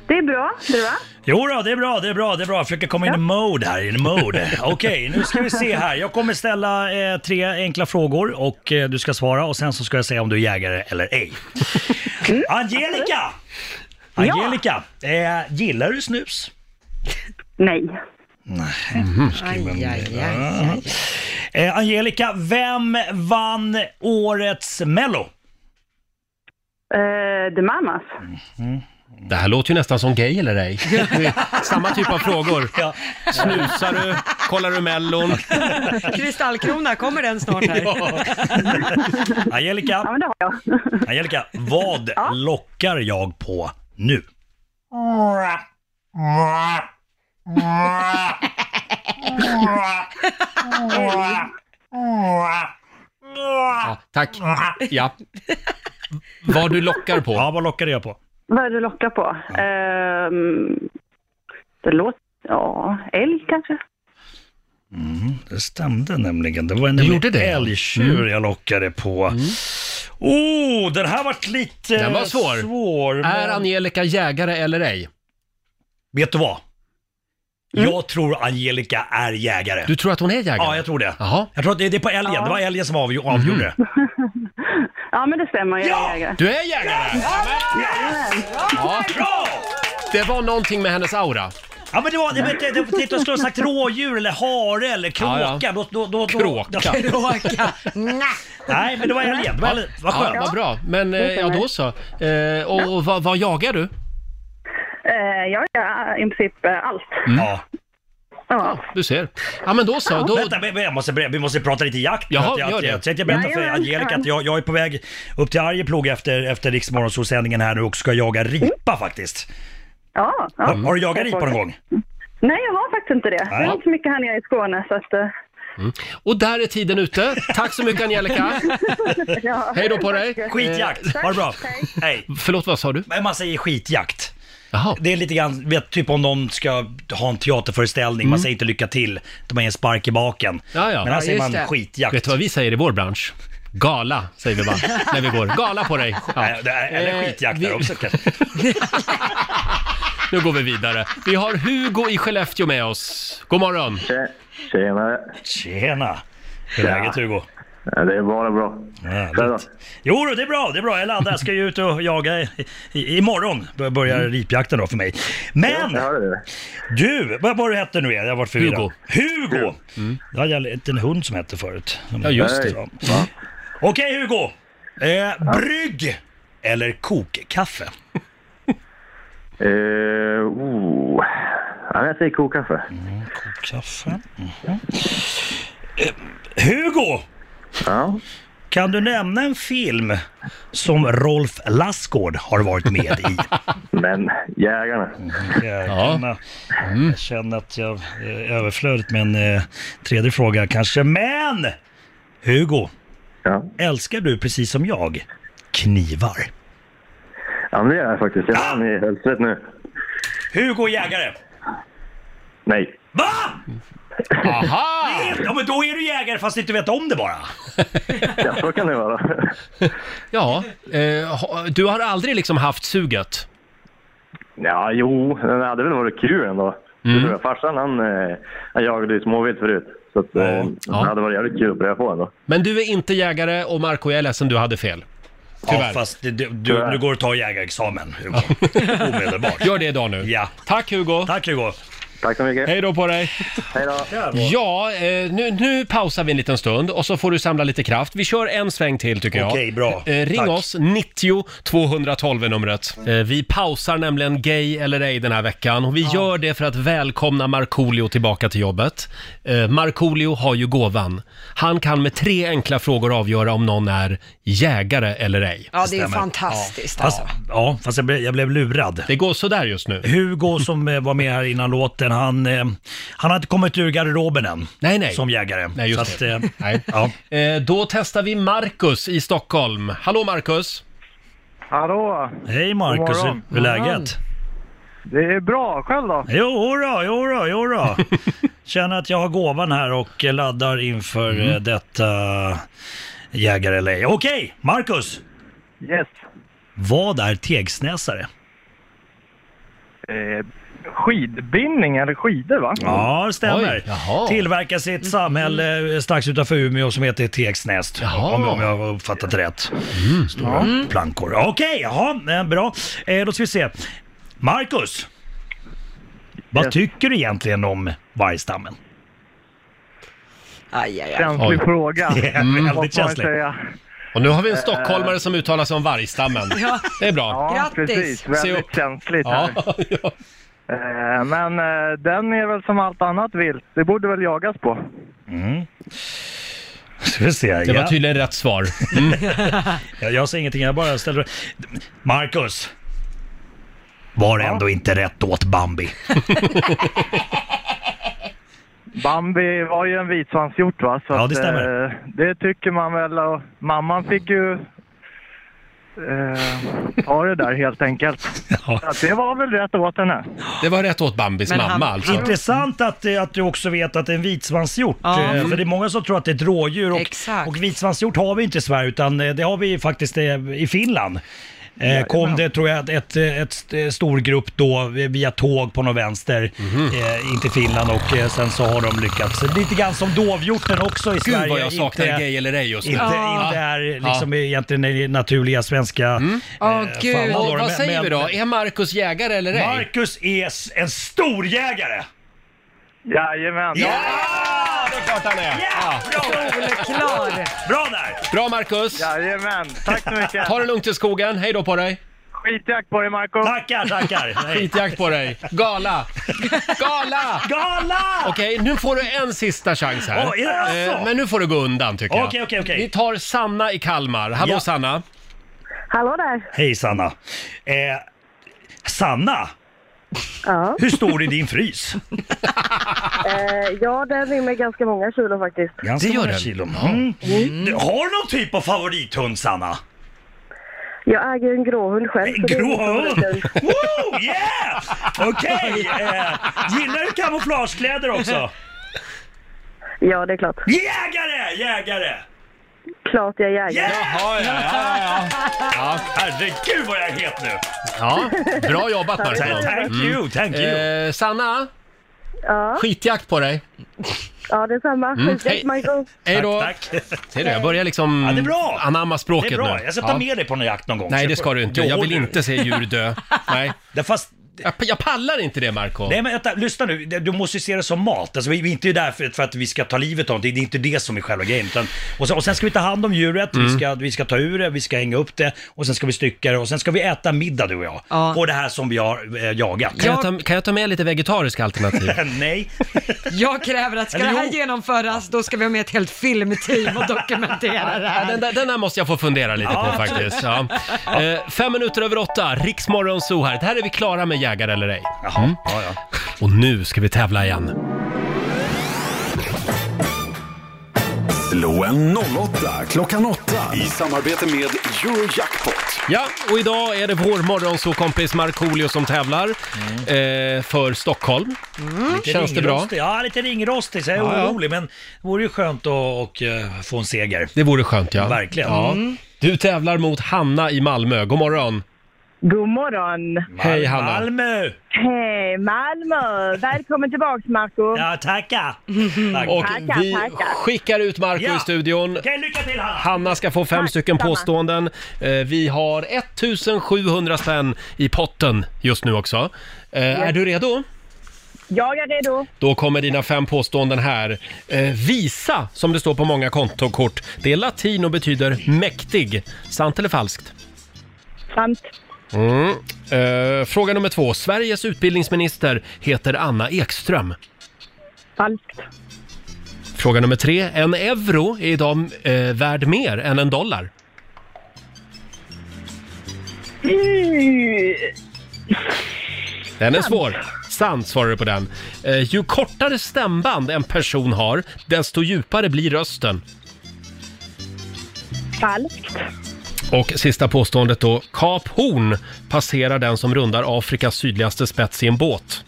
[SPEAKER 11] Det är bra. Du va?
[SPEAKER 9] Jo då, det är bra, det är bra, det är bra. Jag försöker komma in i mode här, in i mode. Okej, nu ska vi se här. Jag kommer ställa eh, tre enkla frågor och eh, du ska svara och sen så ska jag säga om du är jägare eller ej. Angelica! Angelica, eh, gillar du snus?
[SPEAKER 11] Nej.
[SPEAKER 9] Aj, Eh, Angelica, vem vann årets mello?
[SPEAKER 11] Eh, the Mamas.
[SPEAKER 1] Det här låter ju nästan som gay eller ej. Det är Samma typ av frågor. Snusar du? Kollar du Mellon?
[SPEAKER 2] jag. Kristallkrona, kommer den snart här?
[SPEAKER 9] Angelica,
[SPEAKER 11] Ja, men det har jag.
[SPEAKER 9] Angelica, vad lockar jag på nu?
[SPEAKER 1] Ja, tack. Ja. Vad du lockar på?
[SPEAKER 9] Ja, vad lockade jag på?
[SPEAKER 11] Vad är det du lockar på? Ehm, det låter... Ja, älg kanske?
[SPEAKER 9] Det stämde nämligen. Det var en gjorde det. älgtjur
[SPEAKER 1] Mm.
[SPEAKER 9] jag lockade på. Oh, den här vart lite
[SPEAKER 1] Den var svår. Är
[SPEAKER 9] men-
[SPEAKER 1] Angelica jägare eller ej?
[SPEAKER 9] Vet du vad? Jag tror Angelica är jägare.
[SPEAKER 1] Mm. Du tror att hon är jägare?
[SPEAKER 9] Ja, jag tror det.
[SPEAKER 1] Jaha. Mm.
[SPEAKER 9] Jag tror att det det är på älgen. Det var älgen som avgj- avgjorde det.
[SPEAKER 11] Ja, men det stämmer. Jag är jägare.
[SPEAKER 1] Du är jägare! Ja.
[SPEAKER 9] Bra!
[SPEAKER 1] Det var någonting med hennes aura.
[SPEAKER 9] Ja men det var, det, det, det, titta, jag skulle ha sagt rådjur eller hare eller kråka.
[SPEAKER 1] Ja, ja.
[SPEAKER 9] Då, då, då, då,
[SPEAKER 1] Kråka.
[SPEAKER 2] Kråka.
[SPEAKER 9] Nej men det var älgen. Det var älgen. Vad
[SPEAKER 1] Ja,
[SPEAKER 9] skönt.
[SPEAKER 1] vad bra. Men eh, ja, då så. Eh, och och vad, vad jagar du?
[SPEAKER 11] Eh, jag gör i princip eh, allt.
[SPEAKER 1] Mm.
[SPEAKER 9] Ja.
[SPEAKER 11] Ja.
[SPEAKER 1] Du ser. Ja, men då så. Då...
[SPEAKER 9] Vänta, vi- vi måste, ber- vi måste prata lite jakt.
[SPEAKER 1] Jaha,
[SPEAKER 9] jag,
[SPEAKER 1] gör
[SPEAKER 9] jag,
[SPEAKER 1] det.
[SPEAKER 9] jag tänkte berätta för
[SPEAKER 11] Jajamän,
[SPEAKER 9] Angelica
[SPEAKER 11] jajamän.
[SPEAKER 9] att jag, jag är på väg upp till Arjeplog efter, efter Riksmorgonsolsändningen här nu och ska jaga ripa faktiskt.
[SPEAKER 11] Ja, ja.
[SPEAKER 9] Har, har du jagat ripa någon gång?
[SPEAKER 11] Nej, jag har faktiskt inte det. Vi har inte så mycket här nere i Skåne, så att... eh,
[SPEAKER 1] Och där är tiden ute. Tack så mycket Angelica.
[SPEAKER 11] ja.
[SPEAKER 1] Hej då på dig.
[SPEAKER 9] Skitjakt! Ha det bra! Hej!
[SPEAKER 1] Förlåt, vad sa du?
[SPEAKER 9] Men Man säger skitjakt.
[SPEAKER 1] Jaha.
[SPEAKER 9] Det är lite grann, vet, typ om någon ska ha en teaterföreställning, man säger inte lycka till, utan man ger en spark i baken.
[SPEAKER 1] Mm. Ja, ja.
[SPEAKER 9] Men här
[SPEAKER 1] Ja,
[SPEAKER 9] säger
[SPEAKER 2] just
[SPEAKER 9] man
[SPEAKER 2] det.
[SPEAKER 9] skitjakt.
[SPEAKER 1] Vet du vad vi säger i vår bransch? Gala, säger vi bara när vi går. Gala på dig! Ja.
[SPEAKER 9] Nej, Äh, det är- Eller
[SPEAKER 1] Eh,
[SPEAKER 9] skitjakt
[SPEAKER 1] vi-
[SPEAKER 9] där också kanske.
[SPEAKER 1] Nu går vi vidare. Vi har Hugo i Skellefteå med oss. God morgon.
[SPEAKER 12] Tjenare.
[SPEAKER 9] Tjena! Hur är läget Hugo?
[SPEAKER 12] Ja, Det är bara bra.
[SPEAKER 9] Härligt. Jo, då, det är bra, det är bra. Jag laddar, jag ska ju ut och jaga i, i, imorgon. Bör- Börjar ripjakten då för mig. Men
[SPEAKER 12] Mm. Jag hörde det.
[SPEAKER 9] du, vad var du hette nu igen? Jag har varit förvirrad.
[SPEAKER 1] Hugo. Mm.
[SPEAKER 9] Hugo! Det hade jag en- en hund som hette förut.
[SPEAKER 1] Ja, just
[SPEAKER 12] Nej.
[SPEAKER 1] det.
[SPEAKER 12] Va?
[SPEAKER 9] Okej Hugo! Eh, brygg eller kokkaffe?
[SPEAKER 12] Eh, oh. ja, jag säger kokkaffe.
[SPEAKER 9] Mm, Kokkaffe. Mhm. Eh, Hugo!
[SPEAKER 12] Ja.
[SPEAKER 9] Kan du nämna en film som Rolf Lassgård har varit med i?
[SPEAKER 12] Men jägarna.
[SPEAKER 9] Jag, känner, jag känner att jag är överflödigt med en eh, tredje fråga kanske. Men! Hugo,
[SPEAKER 12] Ja.
[SPEAKER 9] älskar du precis som jag knivar?
[SPEAKER 12] ja, men det är jag faktiskt. Jag vann i hölstret nu.
[SPEAKER 9] Hugo Jägare!
[SPEAKER 12] Nej.
[SPEAKER 9] Va?
[SPEAKER 1] Aha!
[SPEAKER 9] Ja men då är du jägare fast du inte vet om det bara.
[SPEAKER 12] Ja, så kan det vara.
[SPEAKER 1] Ja, eh, ha- du har aldrig liksom haft suget?
[SPEAKER 12] Ja, Mm. jo. Det Oh, hade väl varit kul ändå. Det tror jag. Farsan han, eh, han jagade ju småvilt förut. Så att, eh,
[SPEAKER 1] Ja.
[SPEAKER 12] det hade varit jävligt kul att pröva på ändå.
[SPEAKER 1] Men du är inte jägare och Marco, jag är ledsen, du hade fel. Tyvärr.
[SPEAKER 9] Ja, fast det, du, du, nu går det att ta jägarexamen, Hugo. Omedelbart.
[SPEAKER 1] Gör det idag nu.
[SPEAKER 9] Ja.
[SPEAKER 1] Tack Hugo.
[SPEAKER 9] Tack Hugo.
[SPEAKER 12] Tack så mycket.
[SPEAKER 1] Hej då på dig.
[SPEAKER 12] Hej då.
[SPEAKER 1] Ja, eh, nu, nu pausar vi en liten stund och så får du samla lite kraft. Vi kör en sväng till tycker jag.
[SPEAKER 9] Okej, bra.
[SPEAKER 1] Eh, ring
[SPEAKER 9] Tack.
[SPEAKER 1] oss, 90 212 är numret. Eh, vi pausar nämligen Gay eller ej den här veckan och vi gör det för att välkomna Markoolio tillbaka till jobbet. Eh, Markoolio har ju gåvan. Han kan med tre enkla frågor avgöra om någon är jägare eller ej.
[SPEAKER 2] Ja, det är
[SPEAKER 9] Stämmer.
[SPEAKER 2] fantastiskt
[SPEAKER 9] Fast,
[SPEAKER 2] alltså.
[SPEAKER 9] ja, fast jag blev, jag blev lurad.
[SPEAKER 1] Det går sådär just nu.
[SPEAKER 9] Hugo som eh, var med här innan låten, han, eh, han har inte kommit ur garderoben än.
[SPEAKER 1] Nej, nej.
[SPEAKER 9] Som jägare.
[SPEAKER 1] Nej, just
[SPEAKER 9] Så
[SPEAKER 1] det.
[SPEAKER 9] att, eh,
[SPEAKER 1] Nej.
[SPEAKER 9] ja.
[SPEAKER 1] Eh, då testar vi Marcus i Stockholm. Hallå Marcus!
[SPEAKER 12] Hallå!
[SPEAKER 9] Hej Marcus,
[SPEAKER 12] God
[SPEAKER 9] hur
[SPEAKER 12] morgon.
[SPEAKER 9] hur är läget?
[SPEAKER 12] Det är bra. Själv då?
[SPEAKER 9] Jo då, jo då, jo då. Känner att jag har gåvan här och eh, laddar inför
[SPEAKER 12] Mm.
[SPEAKER 9] eh, detta jägare eller ej. Okej, Marcus!
[SPEAKER 12] Yes.
[SPEAKER 9] Vad är tegsnäsare?
[SPEAKER 12] Eh, skidbindning eller skidor va?
[SPEAKER 9] Ja, det
[SPEAKER 1] Oj,
[SPEAKER 9] stämmer.
[SPEAKER 1] jaha.
[SPEAKER 9] Tillverkas i ett samhälle eh, strax utanför Umeå som heter Tegsnäst.
[SPEAKER 1] Jaha. Mm.
[SPEAKER 9] Om, om jag har uppfattat rätt. Stora plankor. Okej, jaha, eh, bra. Eh, Då ska vi se. Marcus! Vad
[SPEAKER 12] Yes.
[SPEAKER 9] tycker du egentligen om vargstammen?
[SPEAKER 2] Aj, aj, aj.
[SPEAKER 12] Känslig
[SPEAKER 1] Oj.
[SPEAKER 12] fråga. Vad får man
[SPEAKER 9] Väldigt känslig.
[SPEAKER 12] säga?
[SPEAKER 1] Och nu har vi en stockholmare som uttalar sig om vargstammen.
[SPEAKER 2] Ja.
[SPEAKER 1] Det är bra.
[SPEAKER 12] Ja,
[SPEAKER 2] Grattis.
[SPEAKER 12] precis.
[SPEAKER 1] Se
[SPEAKER 12] Väldigt
[SPEAKER 1] upp.
[SPEAKER 12] känsligt
[SPEAKER 1] Ja,
[SPEAKER 12] här.
[SPEAKER 1] ja.
[SPEAKER 12] Eh, Men eh, den är väl som allt annat vilt. Det borde väl jagas på.
[SPEAKER 9] Mm. Ska vi se.
[SPEAKER 1] Det var
[SPEAKER 9] Ja.
[SPEAKER 1] tydligen rätt svar.
[SPEAKER 9] Jag, jag säger ingenting, jag bara ställer... Marcus! Var ändå inte rätt åt Bambi.
[SPEAKER 12] Bambi var ju en vitsvanshjort va? Så
[SPEAKER 9] Ja, det
[SPEAKER 12] att, eh,
[SPEAKER 9] stämmer.
[SPEAKER 12] det tycker man väl. Och mamman fick ju eh, ta det där helt enkelt.
[SPEAKER 9] Ja.
[SPEAKER 12] Så att det var väl rätt åt henne.
[SPEAKER 1] Det var rätt åt Bambis
[SPEAKER 2] Men han-
[SPEAKER 1] mamma alltså.
[SPEAKER 9] Intressant att, eh, att du också vet att det är en vitsvanshjort.
[SPEAKER 2] Ja.
[SPEAKER 9] eh, För det är många som tror att det är ett rådjur. Och,
[SPEAKER 2] Exakt.
[SPEAKER 9] och vitsvanshjort har vi inte i Sverige utan eh, det har vi faktiskt eh, i Finland. Eh, kom det tror jag ett, eh, ett st- stor grupp då eh, via tåg på någon vänster
[SPEAKER 2] Mhm.
[SPEAKER 9] eh, in till Finland och eh, sen så har de lyckats. Lite grann som dovhjorten också i Sverige.
[SPEAKER 1] Gud vad jag saknar
[SPEAKER 9] inte-
[SPEAKER 1] gay eller ej just nu.
[SPEAKER 9] Inte,
[SPEAKER 1] Ja. Mm.
[SPEAKER 9] inte är liksom egentligen den naturliga svenska...
[SPEAKER 2] Åh
[SPEAKER 9] fan,
[SPEAKER 2] gud.
[SPEAKER 9] vad-
[SPEAKER 1] Och vad
[SPEAKER 9] Men-
[SPEAKER 1] säger
[SPEAKER 9] men-
[SPEAKER 1] vi då? Är Marcus jägare eller ej?
[SPEAKER 9] Marcus är s- en stor jägare!
[SPEAKER 12] Jajamän.
[SPEAKER 1] Ja, det är klart han är! Ja.
[SPEAKER 2] Solklar.
[SPEAKER 9] Bra där!
[SPEAKER 1] Bra Marcus!
[SPEAKER 12] Jajamän. Tack så mycket.
[SPEAKER 1] Ta det lugnt i skogen, hej då på dig!
[SPEAKER 12] Skitjakt på dig Marco.
[SPEAKER 9] Tackar, tackar! Nej.
[SPEAKER 1] Skitjakt på dig! Gala! Gala!
[SPEAKER 9] Gala!
[SPEAKER 1] Okej, nu får du en sista chans här.
[SPEAKER 9] Åh, är det alltså?
[SPEAKER 1] Eh, Men nu får du gå undan tycker jag.
[SPEAKER 9] Okej, okej, okej.
[SPEAKER 1] Vi tar Sanna i Kalmar. Hallå
[SPEAKER 9] Ja.
[SPEAKER 1] Sanna!
[SPEAKER 11] Hallå där.
[SPEAKER 9] Hej Sanna! Eh, Sanna!
[SPEAKER 11] Ja.
[SPEAKER 9] Hur stor är din frys?
[SPEAKER 11] Eh, ja, den rymmer ganska många kilo faktiskt.
[SPEAKER 9] Ganska
[SPEAKER 1] Det gör
[SPEAKER 9] många
[SPEAKER 1] den.
[SPEAKER 9] kilo. Mm. Du, Har du någon typ av favorithund Sanna?
[SPEAKER 11] Jag äger en gråhund själv.
[SPEAKER 9] En
[SPEAKER 11] så det är
[SPEAKER 9] grå
[SPEAKER 11] min
[SPEAKER 9] hund?
[SPEAKER 11] favorithund.
[SPEAKER 9] Woo, yeah! Okej! Eh, gillar du kamouflagekläder också?
[SPEAKER 11] Ja, det är klart.
[SPEAKER 9] Jägare! Jägare!
[SPEAKER 11] Klart jag är jägare.
[SPEAKER 9] Yeah!
[SPEAKER 1] Ja, ja, ja,
[SPEAKER 9] Herregud vad jag är het nu!
[SPEAKER 1] ja. ja. Bra jobbat Marcus!
[SPEAKER 9] Thank you, thank you!
[SPEAKER 1] Eh, Sanna,
[SPEAKER 11] Ja,
[SPEAKER 1] skitjakt på dig!
[SPEAKER 11] ja detsamma.
[SPEAKER 1] hej.
[SPEAKER 11] Skitjakt Marco.
[SPEAKER 1] Hej då!
[SPEAKER 9] Tack, tack.
[SPEAKER 1] Ser du, jag börjar liksom
[SPEAKER 9] Ja, det är bra.
[SPEAKER 1] anamma
[SPEAKER 9] Det
[SPEAKER 1] språket
[SPEAKER 9] är bra,
[SPEAKER 1] nu.
[SPEAKER 9] jag ska
[SPEAKER 1] Ja.
[SPEAKER 9] ta med dig på någon jakt någon gång.
[SPEAKER 1] Nej,
[SPEAKER 9] Så
[SPEAKER 1] det
[SPEAKER 9] får-
[SPEAKER 1] ska du inte.
[SPEAKER 9] Då
[SPEAKER 1] Jag vill
[SPEAKER 9] håller du.
[SPEAKER 1] inte se djur dö. Nej.
[SPEAKER 9] Det- Fast,
[SPEAKER 1] Jag, jag pallar inte det, Marco.
[SPEAKER 9] nej men vänta, lyssna nu. Det- Du måste ju se det som mat. Alltså, vi vi är inte där för, för att vi ska ta livet av någonting. Det är inte det som är själva grejen. Utan, och, sen, och sen ska vi ta hand om djuret,
[SPEAKER 1] Mm.
[SPEAKER 9] vi, ska, vi ska ta ur det, vi ska hänga upp det och sen ska vi stycka det och sen ska vi äta middag du och jag.
[SPEAKER 2] Ja.
[SPEAKER 9] På det här som vi har eh, jagat.
[SPEAKER 1] Kan, jag ta, kan jag ta med lite vegetariska alternativ?
[SPEAKER 9] Nej.
[SPEAKER 2] Jag kräver att ska det
[SPEAKER 9] Eller
[SPEAKER 2] här
[SPEAKER 9] jo.
[SPEAKER 2] genomföras, då ska vi ha med ett helt filmteam och dokumentera det
[SPEAKER 1] Ja, Den
[SPEAKER 2] här.
[SPEAKER 1] där, den där måste jag få fundera lite på faktiskt. Ja. Eh, fem minuter över åtta, Riksmorgon Zoo här. Det här är vi klara med Jägare eller ej.
[SPEAKER 9] Jaha, ja, ja.
[SPEAKER 1] Och nu ska vi tävla igen.
[SPEAKER 6] Slå en 08 klockan 8 i samarbete med Eurojackpot.
[SPEAKER 1] Ja, och idag är det vår morgonsåkompis Markoolio som tävlar eh, för Stockholm.
[SPEAKER 9] Lite
[SPEAKER 1] Känns det bra?
[SPEAKER 9] ringrostig. Ja, lite ringrostig så jag är
[SPEAKER 1] Ja, ja.
[SPEAKER 9] orolig. Men det vore ju skönt att och, eh, få en seger.
[SPEAKER 1] Det vore skönt ja.
[SPEAKER 9] Verkligen. Mm.
[SPEAKER 1] Ja. Du tävlar mot Hanna i Malmö. God morgon.
[SPEAKER 13] God morgon!
[SPEAKER 1] Hej, Hanna.
[SPEAKER 9] Malmö!
[SPEAKER 13] Hej Malmö! Välkommen tillbaks Marco!
[SPEAKER 9] Ja, tackar!
[SPEAKER 1] Och
[SPEAKER 13] tackar,
[SPEAKER 1] vi
[SPEAKER 13] tackar.
[SPEAKER 1] skickar ut Marco i studion.
[SPEAKER 9] lycka till Hanna!
[SPEAKER 1] Hanna ska få fem stycken påståenden. Eh, Vi har 1700 spänn i potten just nu också. Eh, Är du redo?
[SPEAKER 13] Jag är redo.
[SPEAKER 1] Då kommer dina fem påståenden här. Eh, visa, som det står på många kontokort, det är latin och betyder mäktig. Sant eller falskt?
[SPEAKER 13] Sant.
[SPEAKER 1] Mm. Eh, fråga nummer två. Sveriges utbildningsminister heter Anna Ekström.
[SPEAKER 13] Falskt.
[SPEAKER 1] Fråga nummer tre. En euro är idag eh, värd mer än en dollar.
[SPEAKER 13] Mm.
[SPEAKER 1] Den är svår. Sant svarar du på den. Eh, ju kortare stämband en person har, desto djupare blir rösten.
[SPEAKER 13] Falskt.
[SPEAKER 1] Och sista påståendet då. Kap Horn passerar den som rundar Afrikas sydligaste spets i en båt.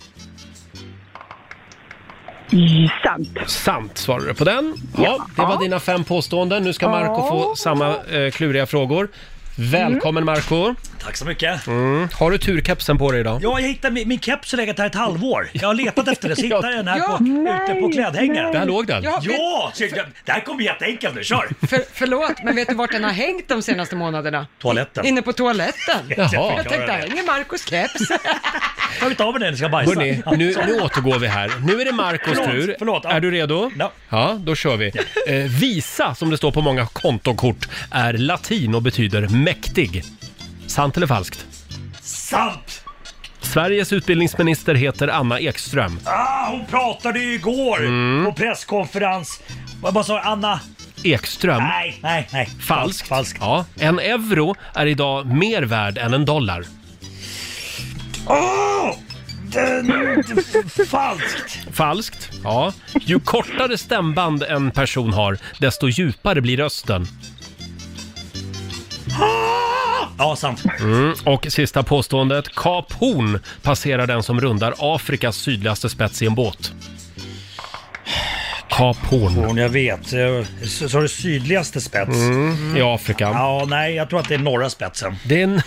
[SPEAKER 13] Sant.
[SPEAKER 1] Sant svarar du på den. Ja, det var dina fem påståenden. Nu ska Marco
[SPEAKER 9] Ja.
[SPEAKER 1] få samma eh, kluriga frågor. Välkommen Marco.
[SPEAKER 9] Tack så mycket.
[SPEAKER 1] Mm. Har du turkepsen på dig idag?
[SPEAKER 9] Ja, jag hittade min, min keps har legat här ett halvår. Jag har letat efter den, så hittade jag den här
[SPEAKER 2] Ja.
[SPEAKER 9] på,
[SPEAKER 2] Nej,
[SPEAKER 9] ute på klädhängaren.
[SPEAKER 2] nej. Där låg den.
[SPEAKER 9] Ja,
[SPEAKER 2] Ja,
[SPEAKER 9] vi...
[SPEAKER 2] vi-
[SPEAKER 9] ja så, jag- det här kommer jätteenkelt nu. Kör!
[SPEAKER 2] För, förlåt, men vet du vart den har hängt de senaste månaderna?
[SPEAKER 9] Toaletten.
[SPEAKER 2] Inne på toaletten.
[SPEAKER 9] Jaha.
[SPEAKER 2] Jag tänkte, där hänger Marcos keps.
[SPEAKER 9] Tagit av mig den, jag ska bajsa.
[SPEAKER 1] Hörrni, nu, nu återgår vi här. Nu är det Marcos
[SPEAKER 9] Förlåt,
[SPEAKER 1] tur.
[SPEAKER 9] förlåt, ja.
[SPEAKER 1] Är du redo? Ja. då kör vi. Eh, visa, som det står på många kontokort, är latin och betyder mäktig. Sant eller falskt?
[SPEAKER 9] Sant!
[SPEAKER 1] Sveriges utbildningsminister heter Anna Ekström.
[SPEAKER 9] Ah, hon pratade ju igår på presskonferens. Vad vad sa du, Anna?
[SPEAKER 1] Ekström?
[SPEAKER 9] Nej, nej, nej.
[SPEAKER 1] Falskt. Falskt. Ja. En euro är idag mer värd än en dollar.
[SPEAKER 9] Åh! Ah! Den, falskt.
[SPEAKER 1] Falskt. Ja. Ju kortare stämband en person har, desto djupare blir rösten.
[SPEAKER 9] Ah! Ja, sant.
[SPEAKER 1] Mm. Och sista påståendet. Kap Horn passerar den som rundar Afrikas sydligaste spets i en båt. Kap Horn.
[SPEAKER 9] Hon, jag vet. Eh, Så, så har du sydligaste spets.
[SPEAKER 1] Mm, I Afrika.
[SPEAKER 9] Ja, nej, jag tror att det är norra spetsen.
[SPEAKER 1] Det är, en,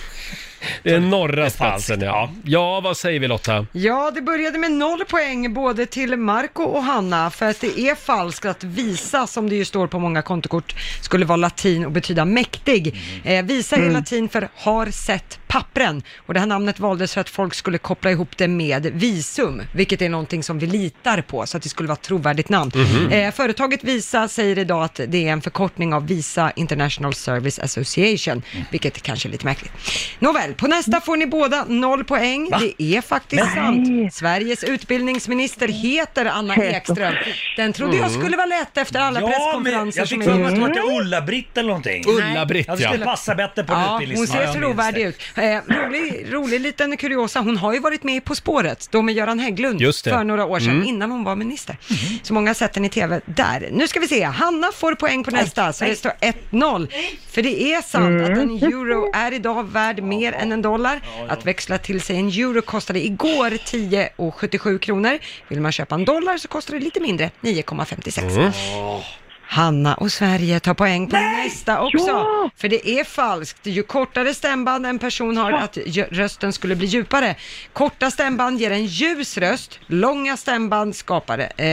[SPEAKER 1] det är norra spetsen, ja. Ja, vad säger vi Lotta?
[SPEAKER 2] Ja, det började med noll poäng både till Marco och Hanna för att det är falskt att visa, som det ju står på många kontokort, skulle vara latin och betyda mäktig. Eh, visa är
[SPEAKER 13] Mm.
[SPEAKER 2] latin för har sett pappren och det här namnet valdes för att folk skulle koppla ihop det med visum, vilket är någonting som vi litar på, så att det skulle vara ett trovärdigt namn.
[SPEAKER 13] Mhm.
[SPEAKER 2] Eh, företaget Visa säger idag att det är en förkortning av Visa International Service Association,
[SPEAKER 13] Mm.
[SPEAKER 2] vilket kanske är lite märkligt. Nåväl, på nästa får ni båda noll poäng.
[SPEAKER 13] Va?
[SPEAKER 2] Det är faktiskt
[SPEAKER 13] Men-
[SPEAKER 2] sant. Sveriges utbildningsminister heter Anna Ekström. Den trodde jag
[SPEAKER 9] Mm.
[SPEAKER 2] skulle vara lätt efter alla
[SPEAKER 9] Ja, men
[SPEAKER 2] presskonferenser
[SPEAKER 9] jag fick
[SPEAKER 2] som
[SPEAKER 9] för
[SPEAKER 2] är
[SPEAKER 9] mig att det
[SPEAKER 2] just nu.
[SPEAKER 9] var Ulla-Britt eller någonting.
[SPEAKER 1] Ulla-Britt,
[SPEAKER 9] Jag skulle
[SPEAKER 1] ja.
[SPEAKER 9] passa bättre på en
[SPEAKER 2] Ja, hon
[SPEAKER 9] utbildningsnivå.
[SPEAKER 2] ser trovärdig ut. Eh, rolig, rolig liten kuriosa, hon har ju varit med i På spåret, då med Göran Hägglund,
[SPEAKER 1] Just det.
[SPEAKER 2] för några år sedan,
[SPEAKER 1] Mm.
[SPEAKER 2] innan hon var minister. Så många har sett henne i TV där. Nu ska vi se, Hanna får poäng på nästa, så det står 1-0. För det är sant
[SPEAKER 13] Mm.
[SPEAKER 2] att en euro är idag värd mer än en dollar. Att växla till sig en euro kostade igår 10,77 kronor. Vill man köpa en dollar så kostar det lite mindre, 9,56.
[SPEAKER 13] Mm.
[SPEAKER 2] Hanna och Sverige tar poäng på nästa också.
[SPEAKER 13] Ja!
[SPEAKER 2] För det är falskt. Ju kortare stämband en person har, att jö- rösten skulle bli djupare. Korta stämband ger en ljus röst. Långa stämband skapar, eh,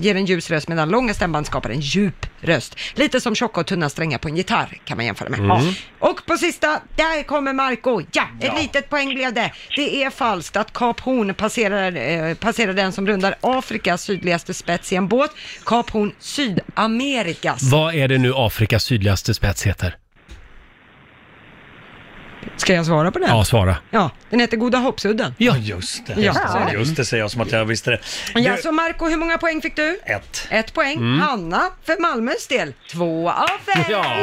[SPEAKER 2] ger en ljus röst, medan långa stämband skapar en djup röst. Lite som tjocka och tunna strängar på en gitarr kan man jämföra med.
[SPEAKER 13] Mm.
[SPEAKER 2] Ja. Och på sista, där kommer Marco. Ja, ett
[SPEAKER 13] Ja.
[SPEAKER 2] litet poäng blev det. Det är falskt att Kap Horn passerar, eh, passerar den som rundar Afrikas sydligaste spets i en båt. Kap Horn, Sydamerikas.
[SPEAKER 1] Vad är det nu Afrikas sydligaste spets heter?
[SPEAKER 2] Ska jag svara på den?
[SPEAKER 1] Ja, svara.
[SPEAKER 2] Ja, den heter Goda Hoppsudden.
[SPEAKER 1] Ja,
[SPEAKER 9] just det.
[SPEAKER 2] Ja,
[SPEAKER 9] Just
[SPEAKER 2] så är
[SPEAKER 9] det,
[SPEAKER 2] det.
[SPEAKER 9] just det säger jag som att jag visste det.
[SPEAKER 2] Ja,
[SPEAKER 9] Du-
[SPEAKER 2] så Marco, hur många poäng fick du?
[SPEAKER 9] Ett.
[SPEAKER 2] Ett poäng.
[SPEAKER 9] Mm.
[SPEAKER 2] Hanna, för Malmös del, två av fem.
[SPEAKER 1] Ja.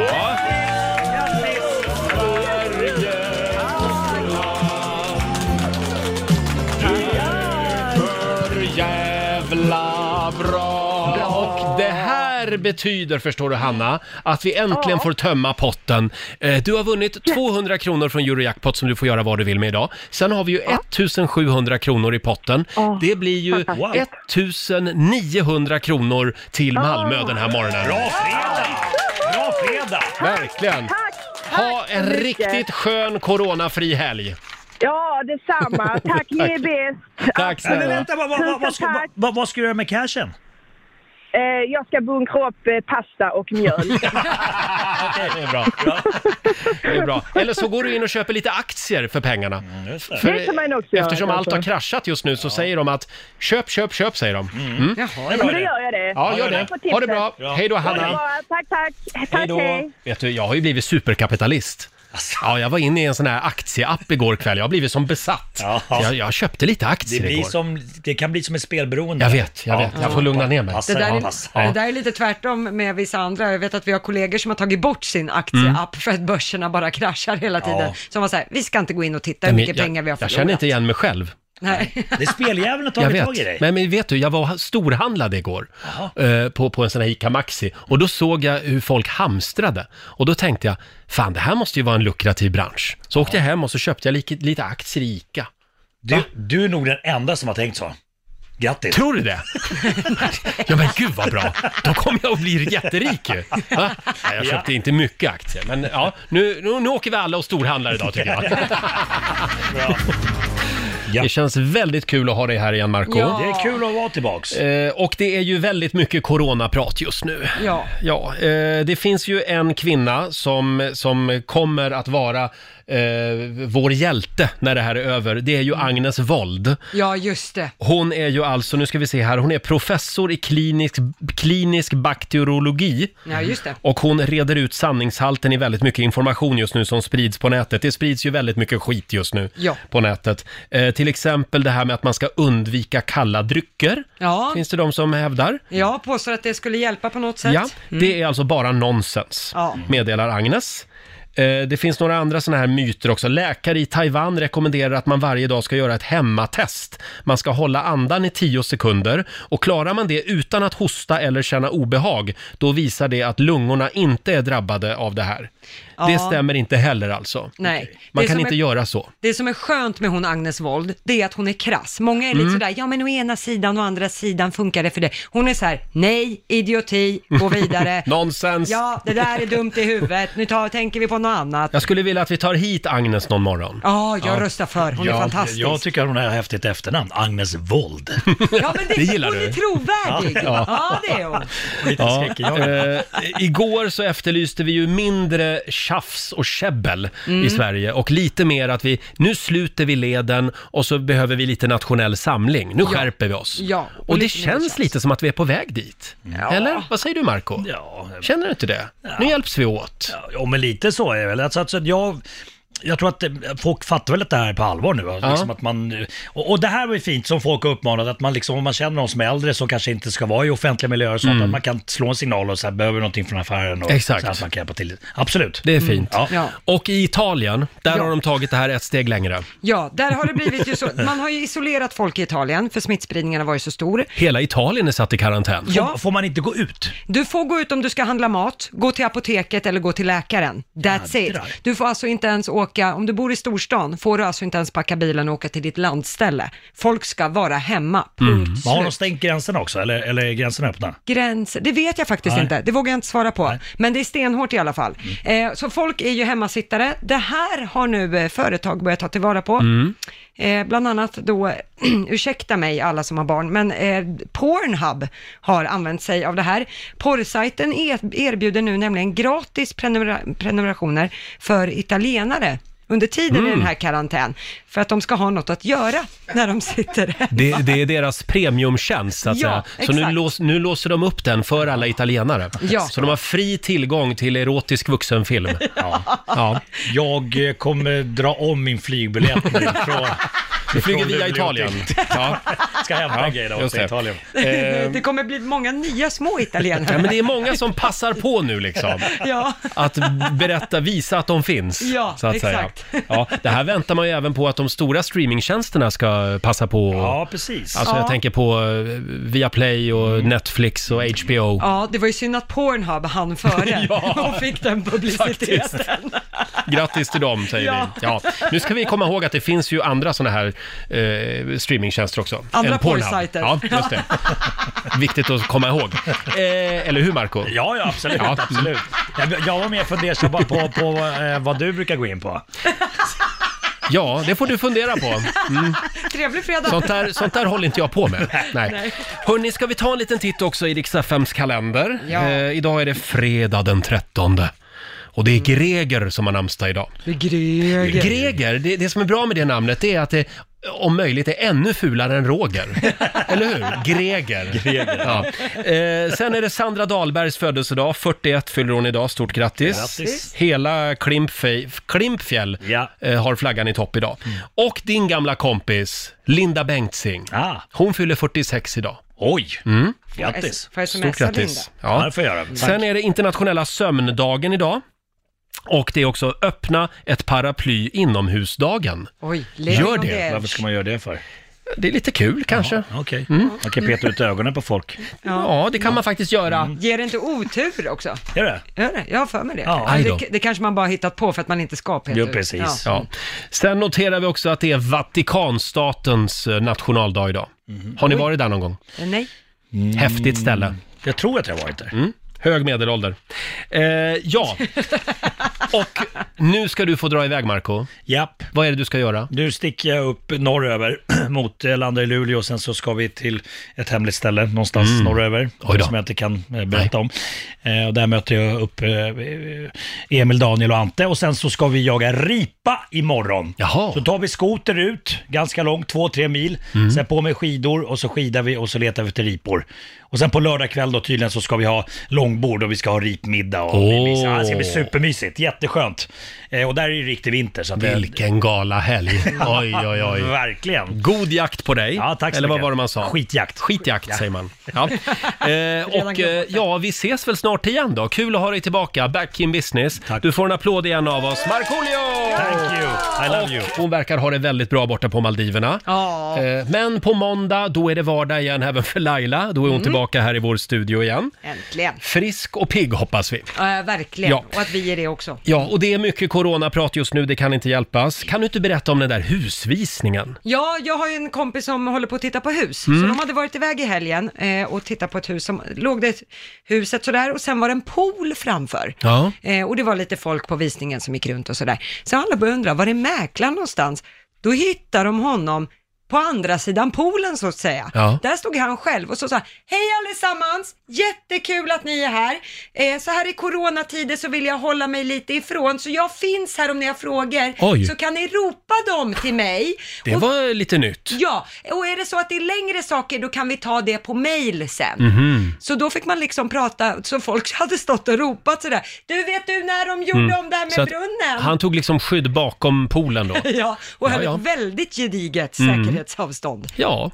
[SPEAKER 1] Jävla bra! Och det här betyder, förstår du Hanna, att vi äntligen får tömma potten. Eh, Du har vunnit 200 kronor från Eurojackpot som du får göra vad du vill med idag. Sen har vi ju 1700 kronor i potten. Det blir ju
[SPEAKER 9] fantastiskt.
[SPEAKER 1] 1900 kronor till Malmö den här morgonen.
[SPEAKER 9] Bra fredag! Bra fredag!
[SPEAKER 1] Verkligen!
[SPEAKER 13] Tack!
[SPEAKER 1] Ha en
[SPEAKER 13] så mycket.
[SPEAKER 1] riktigt skön coronafri helg.
[SPEAKER 13] Ja, detsamma. Tack, ni är bäst.
[SPEAKER 1] Tack
[SPEAKER 9] Men
[SPEAKER 1] snälla.
[SPEAKER 9] vänta, vad, vad, vad,
[SPEAKER 13] Tusen
[SPEAKER 9] vad, ska,
[SPEAKER 13] tack.
[SPEAKER 9] vad, vad, vad ska du göra med cashen?
[SPEAKER 13] Eh, jag ska bunkra upp eh, pasta och mjölk.
[SPEAKER 1] Det är bra. Det är bra. Eller så går du in och köper lite aktier för pengarna.
[SPEAKER 13] Det kan man också göra,
[SPEAKER 1] eftersom allt har
[SPEAKER 13] kanske.
[SPEAKER 1] kraschat just nu så säger de att köp, köp, köp säger de. Mm.
[SPEAKER 13] Ja, men då gör jag det.
[SPEAKER 1] Ja, gör det.
[SPEAKER 13] Tack för tipset.
[SPEAKER 1] Ha det bra. Hej då, Hanna.
[SPEAKER 13] Ha det bra. Tack, tack. Tack, hej.
[SPEAKER 1] Vet du, jag har ju blivit superkapitalist. Ja, jag var inne i en sån här aktieapp igår kväll. Jag har blivit som besatt. Jag, jag köpte lite
[SPEAKER 9] Det,
[SPEAKER 1] aktier
[SPEAKER 9] blir
[SPEAKER 1] igår.
[SPEAKER 9] som, det kan bli som ett spelberoende.
[SPEAKER 1] Jag vet, jag vet. Jag får lugna ner mig.
[SPEAKER 2] Det där,
[SPEAKER 1] Ja.
[SPEAKER 2] är, det där är lite tvärtom med vissa andra. Jag vet att vi har kollegor som har tagit bort sin aktieapp för att börserna bara kraschar hela tiden.
[SPEAKER 1] Mm. Ja.
[SPEAKER 2] Som var så här, vi ska inte gå in och titta hur
[SPEAKER 1] Men
[SPEAKER 2] mycket
[SPEAKER 1] jag,
[SPEAKER 2] pengar vi har
[SPEAKER 1] jag
[SPEAKER 2] förlorat.
[SPEAKER 1] känner inte igen mig själv.
[SPEAKER 2] Nej.
[SPEAKER 9] Det är speljäveln har
[SPEAKER 1] Jag
[SPEAKER 9] tagit tag i dig.
[SPEAKER 1] vet. Men, men vet du, jag var storhandlade igår eh, på, på en sån här ICA Maxi och då såg jag hur folk hamstrade och då tänkte jag, fan det här måste ju vara en lukrativ bransch. Så åkte jag hem och så köpte jag lite, lite aktier i ICA.
[SPEAKER 9] Du, du är nog den enda som har tänkt så. Grattis.
[SPEAKER 1] Tror du det? Ja men gud vad bra, då kommer jag att bli jätterik ju. Va? Nej, jag köpte inte mycket aktier, men ja, nu, nu, nu åker vi alla och storhandlar idag tycker jag. Det känns väldigt kul att ha dig här igen Marco.
[SPEAKER 9] Ja. Det är kul att vara tillbaks.
[SPEAKER 1] Eh, och det är ju väldigt mycket coronaprat just nu.
[SPEAKER 2] Ja.
[SPEAKER 1] Ja, eh, det finns ju en kvinna som, som kommer att vara eh, vår hjälte när det här är över. Det är ju
[SPEAKER 2] Mm.
[SPEAKER 1] Agnes Wold.
[SPEAKER 2] ja, just det.
[SPEAKER 1] Hon är ju alltså, nu ska vi se här, hon är professor i klinisk, klinisk bakteriologi.
[SPEAKER 2] Ja, just det.
[SPEAKER 1] Och hon reder ut sanningshalten i väldigt mycket information just nu som sprids på nätet. Det sprids ju väldigt mycket skit just nu
[SPEAKER 2] Ja.
[SPEAKER 1] på nätet. Eh, till exempel det här med att man ska undvika kalla drycker.
[SPEAKER 2] Ja.
[SPEAKER 1] Finns det de som hävdar?
[SPEAKER 2] Jag påstår att det skulle hjälpa på något sätt.
[SPEAKER 1] Ja, det är alltså bara nonsens,
[SPEAKER 2] Mm. Ja.
[SPEAKER 1] meddelar Agnes. Eh, Det finns några andra sådana här myter också. Läkare i Taiwan rekommenderar att man varje dag ska göra ett hemmatest. Man ska hålla andan i 10 sekunder och klarar man det utan att hosta eller känna obehag, då visar det att lungorna inte är drabbade av det här.
[SPEAKER 2] Ja.
[SPEAKER 1] Det stämmer inte heller alltså.
[SPEAKER 2] Nej.
[SPEAKER 1] Man
[SPEAKER 2] Det
[SPEAKER 1] kan
[SPEAKER 2] som
[SPEAKER 1] inte
[SPEAKER 2] är-
[SPEAKER 1] göra så.
[SPEAKER 2] Det som är skönt med hon Agnes Wold, det är att hon är krass. Många är lite
[SPEAKER 1] Mm.
[SPEAKER 2] sådär, ja men å ena sidan och å andra sidan funkar det för det. Hon är så här: nej, idioti, gå vidare.
[SPEAKER 1] Nonsens!
[SPEAKER 2] ja, det där är dumt i huvudet, nu tar, tänker vi på något annat.
[SPEAKER 1] Jag skulle vilja att vi tar hit Agnes någon morgon.
[SPEAKER 2] Ja, jag röstar för. Hon är fantastisk.
[SPEAKER 9] Jag tycker hon har häftigt efternamn. Agnes Wold.
[SPEAKER 2] Ja, men det,
[SPEAKER 1] Det gillar
[SPEAKER 2] hon är
[SPEAKER 1] du.
[SPEAKER 2] trovärdig.
[SPEAKER 1] Ja.
[SPEAKER 2] Ja. det är hon.
[SPEAKER 9] Lite
[SPEAKER 1] Ja,
[SPEAKER 9] skräckjagande.
[SPEAKER 1] eh, igår så efterlyste vi ju mindre tjafs och käbbel
[SPEAKER 2] Mm.
[SPEAKER 1] i Sverige och lite mer att vi, nu sluter vi leden och så behöver vi lite nationell samling. Nu
[SPEAKER 2] Ja.
[SPEAKER 1] skärper vi oss.
[SPEAKER 2] Ja,
[SPEAKER 1] Och, det känns lite som att vi är på väg dit. Eller? Vad säger du Marco? Känner du inte det? Nu hjälps vi åt.
[SPEAKER 9] Ja, men lite så är det väl. Alltså, alltså, jag, jag tror att eh, folk fattar väl att det här är på allvar nu. va?
[SPEAKER 1] Ja.
[SPEAKER 9] Liksom att man, och, och det här var ju fint som folk har uppmanat, att man liksom, om man känner någon som är äldre som kanske inte ska vara i offentliga miljöer och sånt,
[SPEAKER 1] Mm.
[SPEAKER 9] att man kan slå en signal och så här, behöver någonting från affären och
[SPEAKER 1] Exakt.
[SPEAKER 9] så här, att man kan hjälpa till. Absolut.
[SPEAKER 1] Det är fint.
[SPEAKER 2] Mm.
[SPEAKER 9] Ja.
[SPEAKER 1] Och i Italien, där har de tagit det här ett steg längre.
[SPEAKER 2] Ja, där har det blivit ju så. Man har ju isolerat folk i Italien, för smittspridningen har varit så stor.
[SPEAKER 1] Hela Italien är satt i karantän.
[SPEAKER 2] Ja.
[SPEAKER 9] Får man inte gå ut?
[SPEAKER 2] Du får gå ut om du ska handla mat, gå till apoteket eller gå till läkaren. That's it.
[SPEAKER 9] Jädrar.
[SPEAKER 2] Du får alltså inte ens åka, om du bor i storstan, får du alltså inte ens packa bilen och åka till ditt landställe. Folk ska vara hemma,
[SPEAKER 9] Mm.
[SPEAKER 2] punkt
[SPEAKER 9] Men Har de
[SPEAKER 2] slut.
[SPEAKER 9] stängt gränserna också, eller, eller är gränserna öppna?
[SPEAKER 2] Gränser, det vet jag faktiskt
[SPEAKER 9] Nej.
[SPEAKER 2] inte. Det vågar jag inte svara på. Men det är stenhårt i alla fall.
[SPEAKER 1] Mm.
[SPEAKER 2] Eh, så folk är ju hemmasittare. Det här har nu eh, företag börjat ta tillvara på.
[SPEAKER 7] Mm.
[SPEAKER 2] Eh, bland annat då, ursäkta mig alla som har barn, men eh, Pornhub har använt sig av det här. Porrsajten er- erbjuder nu nämligen gratis prenumera- prenumerationer för italienare under tiden i
[SPEAKER 1] Mm.
[SPEAKER 2] den här karantän, för att de ska ha något att göra när de sitter hemma.
[SPEAKER 1] Det, det är deras premiumtjänst så att
[SPEAKER 2] Ja,
[SPEAKER 1] säga. Så nu,
[SPEAKER 2] exakt.
[SPEAKER 1] lås, nu låser de upp den för alla italienare.
[SPEAKER 2] Ja.
[SPEAKER 1] Så de har fri tillgång till erotisk vuxenfilm.
[SPEAKER 9] Ja.
[SPEAKER 1] Ja.
[SPEAKER 9] Jag eh, kommer dra om min flygbiljett nu från...
[SPEAKER 1] Vi flyger
[SPEAKER 9] från
[SPEAKER 1] via
[SPEAKER 9] Luleå
[SPEAKER 1] Italien.
[SPEAKER 9] till-
[SPEAKER 1] Ja.
[SPEAKER 9] Ska hämta
[SPEAKER 1] Ja,
[SPEAKER 9] en grej då
[SPEAKER 1] just
[SPEAKER 9] till
[SPEAKER 1] det.
[SPEAKER 9] Italien.
[SPEAKER 1] Eh,
[SPEAKER 2] Det kommer bli många nya små italienare.
[SPEAKER 1] Ja, men det är många som passar på nu liksom.
[SPEAKER 2] Ja.
[SPEAKER 1] Att berätta, visa att de finns.
[SPEAKER 2] Ja,
[SPEAKER 1] så att
[SPEAKER 2] exakt.
[SPEAKER 1] Säga. Ja, det här väntar man ju även på att de stora streamingtjänsterna ska passa på.
[SPEAKER 9] Ja, precis.
[SPEAKER 1] Alltså jag
[SPEAKER 2] Ja.
[SPEAKER 1] tänker på eh, Viaplay och
[SPEAKER 9] Mm.
[SPEAKER 1] Netflix och HBO.
[SPEAKER 2] Ja, det var ju synd att Pornhub hann före
[SPEAKER 1] Ja.
[SPEAKER 2] och fick den publiciteten.
[SPEAKER 1] Grattis till dem säger
[SPEAKER 2] Ja.
[SPEAKER 1] vi. Ja. Nu ska vi komma ihåg att det finns ju andra sådana här eh, streamingtjänster också.
[SPEAKER 2] Andra
[SPEAKER 1] än Pornhub.
[SPEAKER 2] porrsajter.
[SPEAKER 1] Ja, just det. Viktigt att komma ihåg. Eh, eller hur Marco?
[SPEAKER 9] Ja, ja absolut.
[SPEAKER 1] Ja. Mm.
[SPEAKER 9] absolut. Jag, jag var mer fundersam bara på, på eh, vad du brukar gå in på.
[SPEAKER 1] Ja, det får du fundera på. Mm.
[SPEAKER 2] Trevlig fredag.
[SPEAKER 1] Sånt där, sånt där håller inte jag på med. Nej.
[SPEAKER 2] Nej.
[SPEAKER 1] Hörni, ska vi ta en liten titt också i Riks-FMs kalender?
[SPEAKER 2] Ja.
[SPEAKER 1] Eh, idag är det fredag den 13. Och det är Greger som har namnsdag idag.
[SPEAKER 2] Greger.
[SPEAKER 1] Greger, det, det som är bra med det namnet det är att det om möjligt är ännu fulare än Roger. Eller hur? Greger.
[SPEAKER 9] Greger.
[SPEAKER 1] Ja. Eh, sen är det Sandra Dahlbergs födelsedag, 41 fyller hon idag, stort grattis.
[SPEAKER 9] Grattis.
[SPEAKER 1] Hela Klimpfej, Klimpfjäll eh, har flaggan i topp idag. Och din gamla kompis Linda Bengtzing, hon fyller 46 idag.
[SPEAKER 9] Ah, Oj!
[SPEAKER 1] Mm.
[SPEAKER 9] Grattis.
[SPEAKER 2] Får jag smsa
[SPEAKER 1] Stort grattis.
[SPEAKER 2] Linda?
[SPEAKER 9] det får jag göra. Tack.
[SPEAKER 1] Sen är det internationella sömndagen idag. Och det är också öppna ett paraply inomhusdagen.
[SPEAKER 2] Oj,
[SPEAKER 1] Gör det.
[SPEAKER 9] Varför ska man göra det för?
[SPEAKER 1] Det är lite kul kanske.
[SPEAKER 9] Okej.
[SPEAKER 1] Mm.
[SPEAKER 9] Man kan peta ut ögonen på folk.
[SPEAKER 1] Ja, det kan man faktiskt göra.
[SPEAKER 2] Ger det inte otur också?
[SPEAKER 9] Gör det?
[SPEAKER 2] Gör det? Jag har för mig det.
[SPEAKER 1] Ja. Aj
[SPEAKER 2] Eller
[SPEAKER 1] då.
[SPEAKER 2] det. Det kanske man bara har hittat på för att man inte ska peta
[SPEAKER 1] Ja,
[SPEAKER 2] ut. Ja.
[SPEAKER 1] Ja. Sen noterar vi också att det är Vatikanstatens eh, nationaldag idag. Har ni
[SPEAKER 2] Oj.
[SPEAKER 1] varit där någon gång?
[SPEAKER 2] Nej.
[SPEAKER 1] Häftigt ställe.
[SPEAKER 9] Jag tror att jag varit där.
[SPEAKER 1] Mm. Hög medelålder. Eh, ja, och nu ska du få dra iväg Marco.
[SPEAKER 9] Japp.
[SPEAKER 1] Vad är det du ska göra?
[SPEAKER 9] Nu sticker jag upp norröver mot, eh, landar i Luleå och sen så ska vi till ett hemligt ställe någonstans
[SPEAKER 1] Mm.
[SPEAKER 9] norröver.
[SPEAKER 1] Oj då.
[SPEAKER 9] Som jag inte kan eh, berätta om. Eh, och där möter jag upp eh, Emil, Daniel och Ante och sen så ska vi jaga ripa imorgon.
[SPEAKER 1] Jaha.
[SPEAKER 9] Så tar vi skoter ut, ganska långt, två, tre mil.
[SPEAKER 1] Mm.
[SPEAKER 9] Sen på med skidor och så skidar vi och så letar vi efter ripor. Och sen på lördag kväll då tydligen så ska vi ha långbord och vi ska ha ripmiddag. Och
[SPEAKER 1] Åh.
[SPEAKER 9] ja, det ska bli supermysigt, jätteskönt. Eh, och där är ju riktig vinter. Så att det-
[SPEAKER 1] Vilken gala helg. Oj, oj, oj.
[SPEAKER 9] Verkligen.
[SPEAKER 1] God jakt på dig.
[SPEAKER 9] Ja, tack så
[SPEAKER 1] Eller vad
[SPEAKER 9] mycket.
[SPEAKER 1] var det man sa?
[SPEAKER 9] Skitjakt.
[SPEAKER 1] Skitjakt
[SPEAKER 9] Ja.
[SPEAKER 1] säger man. Ja. Eh, och eh, ja, vi ses väl snart igen då. Kul att ha dig tillbaka, back in business. Du får en applåd igen av oss. Markoolio!
[SPEAKER 9] Thank you, I love you.
[SPEAKER 1] Hon verkar ha det väldigt bra borta på Maldiverna. Eh, Men på måndag, då är det vardag igen även för Laila. Då är hon
[SPEAKER 2] Mm.
[SPEAKER 1] tillbaka här i vår studio igen.
[SPEAKER 2] Äntligen.
[SPEAKER 1] Frisk och pigg hoppas vi.
[SPEAKER 2] Ja, verkligen.
[SPEAKER 1] Eh. Ja.
[SPEAKER 2] Och att vi är det också.
[SPEAKER 1] Ja, och det är mycket coronaprat just nu, det kan inte hjälpas. Kan du inte berätta om den där husvisningen?
[SPEAKER 2] Ja, jag har ju en kompis som håller på att titta på hus.
[SPEAKER 1] Mm.
[SPEAKER 2] Så de hade varit iväg i helgen eh, och tittat på ett hus som låg det huset sådär och sen var det en pool framför.
[SPEAKER 1] Ja.
[SPEAKER 2] Eh, och det var lite folk på visningen som gick runt och sådär. Så alla började undra, var är mäklaren någonstans? Då hittar de honom på andra sidan poolen så att säga.
[SPEAKER 7] Ja.
[SPEAKER 2] Där stod han själv och så sa han, hej allesammans, jättekul att ni är här. Eh, så här i coronatider så vill jag hålla mig lite ifrån, så jag finns här om ni har frågor.
[SPEAKER 1] Oj.
[SPEAKER 2] Så kan ni ropa dem till mig.
[SPEAKER 1] Det
[SPEAKER 2] Och-
[SPEAKER 1] var lite nytt.
[SPEAKER 2] Ja, och är det så att det är längre saker då kan vi ta det på mail sen.
[SPEAKER 1] Mhm.
[SPEAKER 2] Så då fick man liksom prata, så folk hade stått och ropat sådär. Du vet du när de gjorde
[SPEAKER 1] Mm.
[SPEAKER 2] om det här med
[SPEAKER 1] Så att
[SPEAKER 2] brunnen?
[SPEAKER 1] Han tog liksom skydd bakom poolen då.
[SPEAKER 2] Ja, och
[SPEAKER 1] Ja,
[SPEAKER 2] höll
[SPEAKER 1] ja.
[SPEAKER 2] ett väldigt gediget
[SPEAKER 1] Mm.
[SPEAKER 2] säkerhetsavstånd.
[SPEAKER 1] Ja,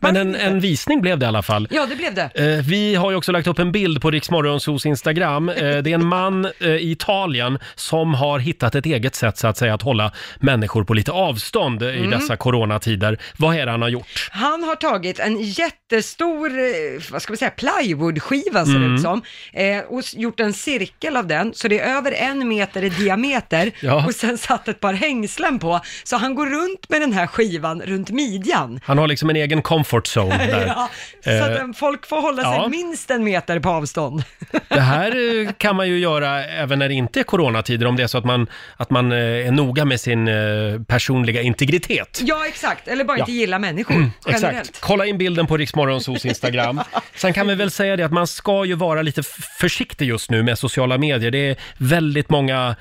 [SPEAKER 1] men en, en visning blev det i alla fall.
[SPEAKER 2] Mm. Ja, det blev det.
[SPEAKER 1] Eh, Vi har ju också lagt upp en bild på Riksmorgonsos Instagram. Eh, Det är en man eh, i Italien som har hittat ett eget sätt så att säga att hålla människor på lite avstånd eh, i
[SPEAKER 2] Mm.
[SPEAKER 1] dessa coronatider. Vad är det han har gjort?
[SPEAKER 2] Han har tagit en jättestor, eh, vad ska man säga, plywoodskiva ser det
[SPEAKER 1] Mm.
[SPEAKER 2] ut som. Eh, och s- gjort en cirkel av den, så det är över en meter i diameter.
[SPEAKER 1] Ja.
[SPEAKER 2] Och sen satt ett par hängslen på. Så han går runt med den här skivan runt midjan.
[SPEAKER 1] Han har liksom en egen comfort zone där.
[SPEAKER 2] ja, så
[SPEAKER 1] Eh,
[SPEAKER 2] att eh, folk får hålla sig
[SPEAKER 1] ja.
[SPEAKER 2] minst en meter på avstånd.
[SPEAKER 1] Det här eh, kan man ju göra även när det inte är coronatider om det är så att man, att man eh, är noga med sin eh, personliga integritet.
[SPEAKER 2] Ja, exakt. Eller bara
[SPEAKER 1] Ja. Mm,
[SPEAKER 2] inte gilla människor generellt.
[SPEAKER 1] Exakt. Kolla in bilden på Riksmorgonsos Instagram. Sen kan vi väl säga det att man ska ju vara lite f- försiktig just nu med sociala medier. Det är väldigt många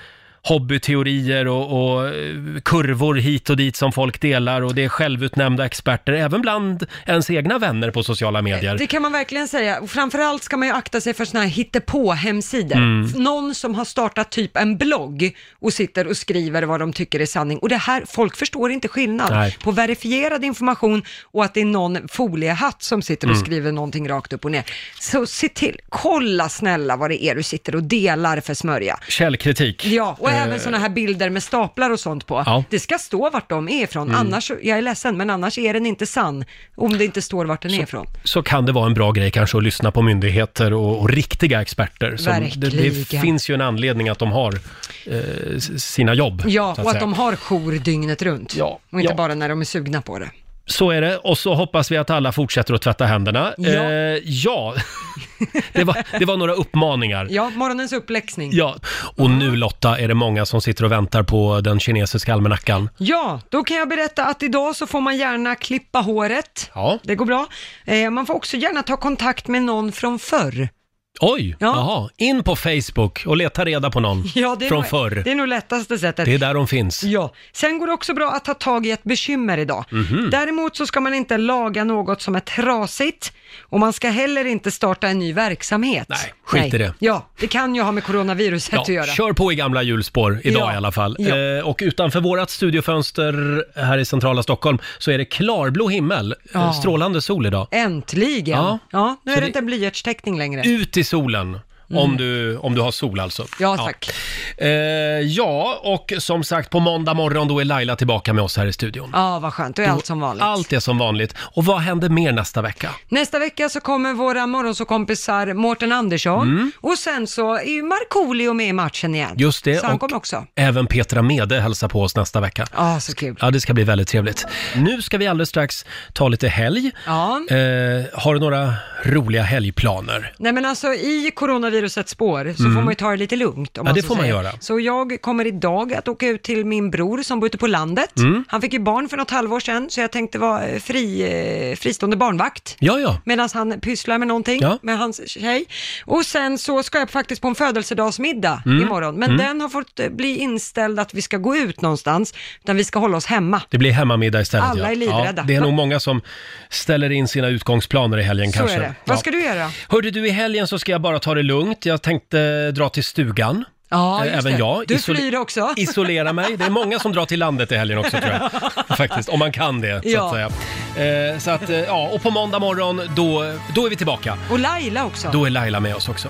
[SPEAKER 1] hobbyteorier och, och eh, kurvor hit och dit som folk delar och det är självutnämnda experter, även bland ens egna vänner på sociala medier.
[SPEAKER 2] Det kan man verkligen säga. Och Framförallt ska man ju akta sig för sådana här hittepå-hemsidor.
[SPEAKER 1] Mm.
[SPEAKER 2] Någon som har startat typ en blogg och sitter och skriver vad de tycker är sanning. Och det här, folk förstår inte skillnad
[SPEAKER 1] Nej.
[SPEAKER 2] på verifierad information och att det är någon foliehatt som sitter och
[SPEAKER 1] Mm.
[SPEAKER 2] skriver någonting rakt upp och ner. Så se till, kolla snälla vad det är du sitter och delar för smörja.
[SPEAKER 1] Källkritik.
[SPEAKER 2] Ja, och Och
[SPEAKER 1] Eh.
[SPEAKER 2] även sådana här bilder med staplar och sånt på.
[SPEAKER 1] Ja.
[SPEAKER 2] Det ska stå vart de är ifrån.
[SPEAKER 1] Mm.
[SPEAKER 2] Annars, jag är ledsen, men annars är den inte sann. Om det inte står vart den är ifrån.
[SPEAKER 1] så kan det vara en bra grej kanske att lyssna på myndigheter och, och riktiga experter. Som, det, det
[SPEAKER 2] Verkligen.
[SPEAKER 1] finns ju en anledning att de har eh, s- sina jobb.
[SPEAKER 2] Ja,
[SPEAKER 1] så
[SPEAKER 2] och att
[SPEAKER 1] säga.
[SPEAKER 2] de har jour dygnet runt. och inte bara när de är sugna på det.
[SPEAKER 1] Så är det, och så hoppas vi att alla fortsätter att tvätta händerna.
[SPEAKER 2] Ja.
[SPEAKER 1] Eh, ja. det, var, det var några uppmaningar.
[SPEAKER 2] Ja, morgonens uppläxning.
[SPEAKER 1] Ja, och nu Lotta är det många som sitter och väntar på den kinesiska almanackan.
[SPEAKER 2] Ja, då kan jag berätta att idag så får man gärna klippa håret.
[SPEAKER 1] Ja.
[SPEAKER 2] Det går bra. Eh, man får också gärna ta kontakt med någon från förr.
[SPEAKER 1] Oj, jaha, in på Facebook och leta reda på någon
[SPEAKER 2] Ja, det är
[SPEAKER 1] från
[SPEAKER 2] nog,
[SPEAKER 1] förr.
[SPEAKER 2] Det är nog lättaste sättet.
[SPEAKER 1] Det är där de finns.
[SPEAKER 2] Ja, sen går det också bra att ta tag i ett bekymmer idag.
[SPEAKER 1] Mhm.
[SPEAKER 2] Däremot så ska man inte laga något som är trasigt och man ska heller inte starta en ny verksamhet. Nej,
[SPEAKER 1] skit i det.
[SPEAKER 2] Ja, det kan ju ha med coronaviruset
[SPEAKER 1] Ja,
[SPEAKER 2] att göra.
[SPEAKER 1] kör på i gamla hjulspår idag
[SPEAKER 2] Ja,
[SPEAKER 1] i alla fall.
[SPEAKER 2] ja.
[SPEAKER 1] Eh, och utanför vårat studiofönster här i centrala Stockholm så är det klarblå himmel, eh,
[SPEAKER 2] Ja.
[SPEAKER 1] strålande sol idag.
[SPEAKER 2] Äntligen!
[SPEAKER 1] Ja.
[SPEAKER 2] Ja, nu
[SPEAKER 1] Så
[SPEAKER 2] är det
[SPEAKER 1] det-
[SPEAKER 2] inte en blyertsteckning längre.
[SPEAKER 1] Ut i solen! Om,
[SPEAKER 2] Mm.
[SPEAKER 1] du, om du har sol alltså.
[SPEAKER 2] Ja, tack.
[SPEAKER 1] Ja. Eh, ja, och som sagt på måndag morgon då är Laila tillbaka med oss här i studion.
[SPEAKER 2] Ja, vad skönt. Då är
[SPEAKER 1] Då-
[SPEAKER 2] allt som vanligt.
[SPEAKER 1] Allt är som vanligt. Och vad händer mer nästa vecka?
[SPEAKER 2] Nästa vecka så kommer våra morgonsåkompisar Mårten Andersson
[SPEAKER 1] Mm.
[SPEAKER 2] och sen så är ju Markoolio med i matchen igen.
[SPEAKER 1] Just det,
[SPEAKER 2] Så han
[SPEAKER 1] och-
[SPEAKER 2] kommer också.
[SPEAKER 1] Även Petra Mede hälsar på oss nästa vecka.
[SPEAKER 2] Ja, så kul.
[SPEAKER 1] Ja, det ska bli väldigt trevligt. Nu ska vi alldeles strax ta lite helg.
[SPEAKER 2] Ja.
[SPEAKER 1] Eh, har du några roliga helgplaner?
[SPEAKER 2] Nej men alltså i coronavirusets spår så
[SPEAKER 1] Mm.
[SPEAKER 2] får man ju ta det lite lugnt. Om
[SPEAKER 1] Ja,
[SPEAKER 2] man
[SPEAKER 1] det
[SPEAKER 2] så
[SPEAKER 1] får man
[SPEAKER 2] säger.
[SPEAKER 1] göra.
[SPEAKER 2] Så jag kommer idag att åka ut till min bror som bor ute på landet.
[SPEAKER 1] Mm.
[SPEAKER 2] Han fick ju barn för något halvår sedan så jag tänkte vara eh, fri, eh, fristående barnvakt.
[SPEAKER 1] Ja, ja.
[SPEAKER 2] Medan han pysslar med någonting
[SPEAKER 1] Ja.
[SPEAKER 2] med hans tjej. Och sen så ska jag faktiskt på en födelsedagsmiddag
[SPEAKER 1] Mm.
[SPEAKER 2] imorgon. Men
[SPEAKER 1] Mm.
[SPEAKER 2] den har fått eh, bli inställd att vi ska gå ut någonstans, utan vi ska hålla oss hemma.
[SPEAKER 1] Det blir hemmamiddag istället.
[SPEAKER 2] Alla
[SPEAKER 1] ja.
[SPEAKER 2] är livrädda.
[SPEAKER 1] Ja, det är nog många som ställer in sina utgångsplaner i helgen
[SPEAKER 2] Så
[SPEAKER 1] kanske.
[SPEAKER 2] är det. Vad
[SPEAKER 1] Ja.
[SPEAKER 2] ska du göra?
[SPEAKER 1] Hörde du, i helgen så ska jag bara ta det lugnt. Jag tänkte dra till stugan.
[SPEAKER 2] Ja,
[SPEAKER 1] Eh,
[SPEAKER 2] just
[SPEAKER 1] Även
[SPEAKER 2] det.
[SPEAKER 1] jag.
[SPEAKER 2] Du
[SPEAKER 1] Isol-
[SPEAKER 2] flyr också.
[SPEAKER 1] Isolera mig. Det är många som drar till landet i helgen också tror jag. Faktiskt, om man kan det så
[SPEAKER 2] Ja.
[SPEAKER 1] att säga. Eh, så att, eh, ja, och på måndag morgon då, då är vi tillbaka.
[SPEAKER 2] Och Laila också.
[SPEAKER 1] Då är Laila med oss också.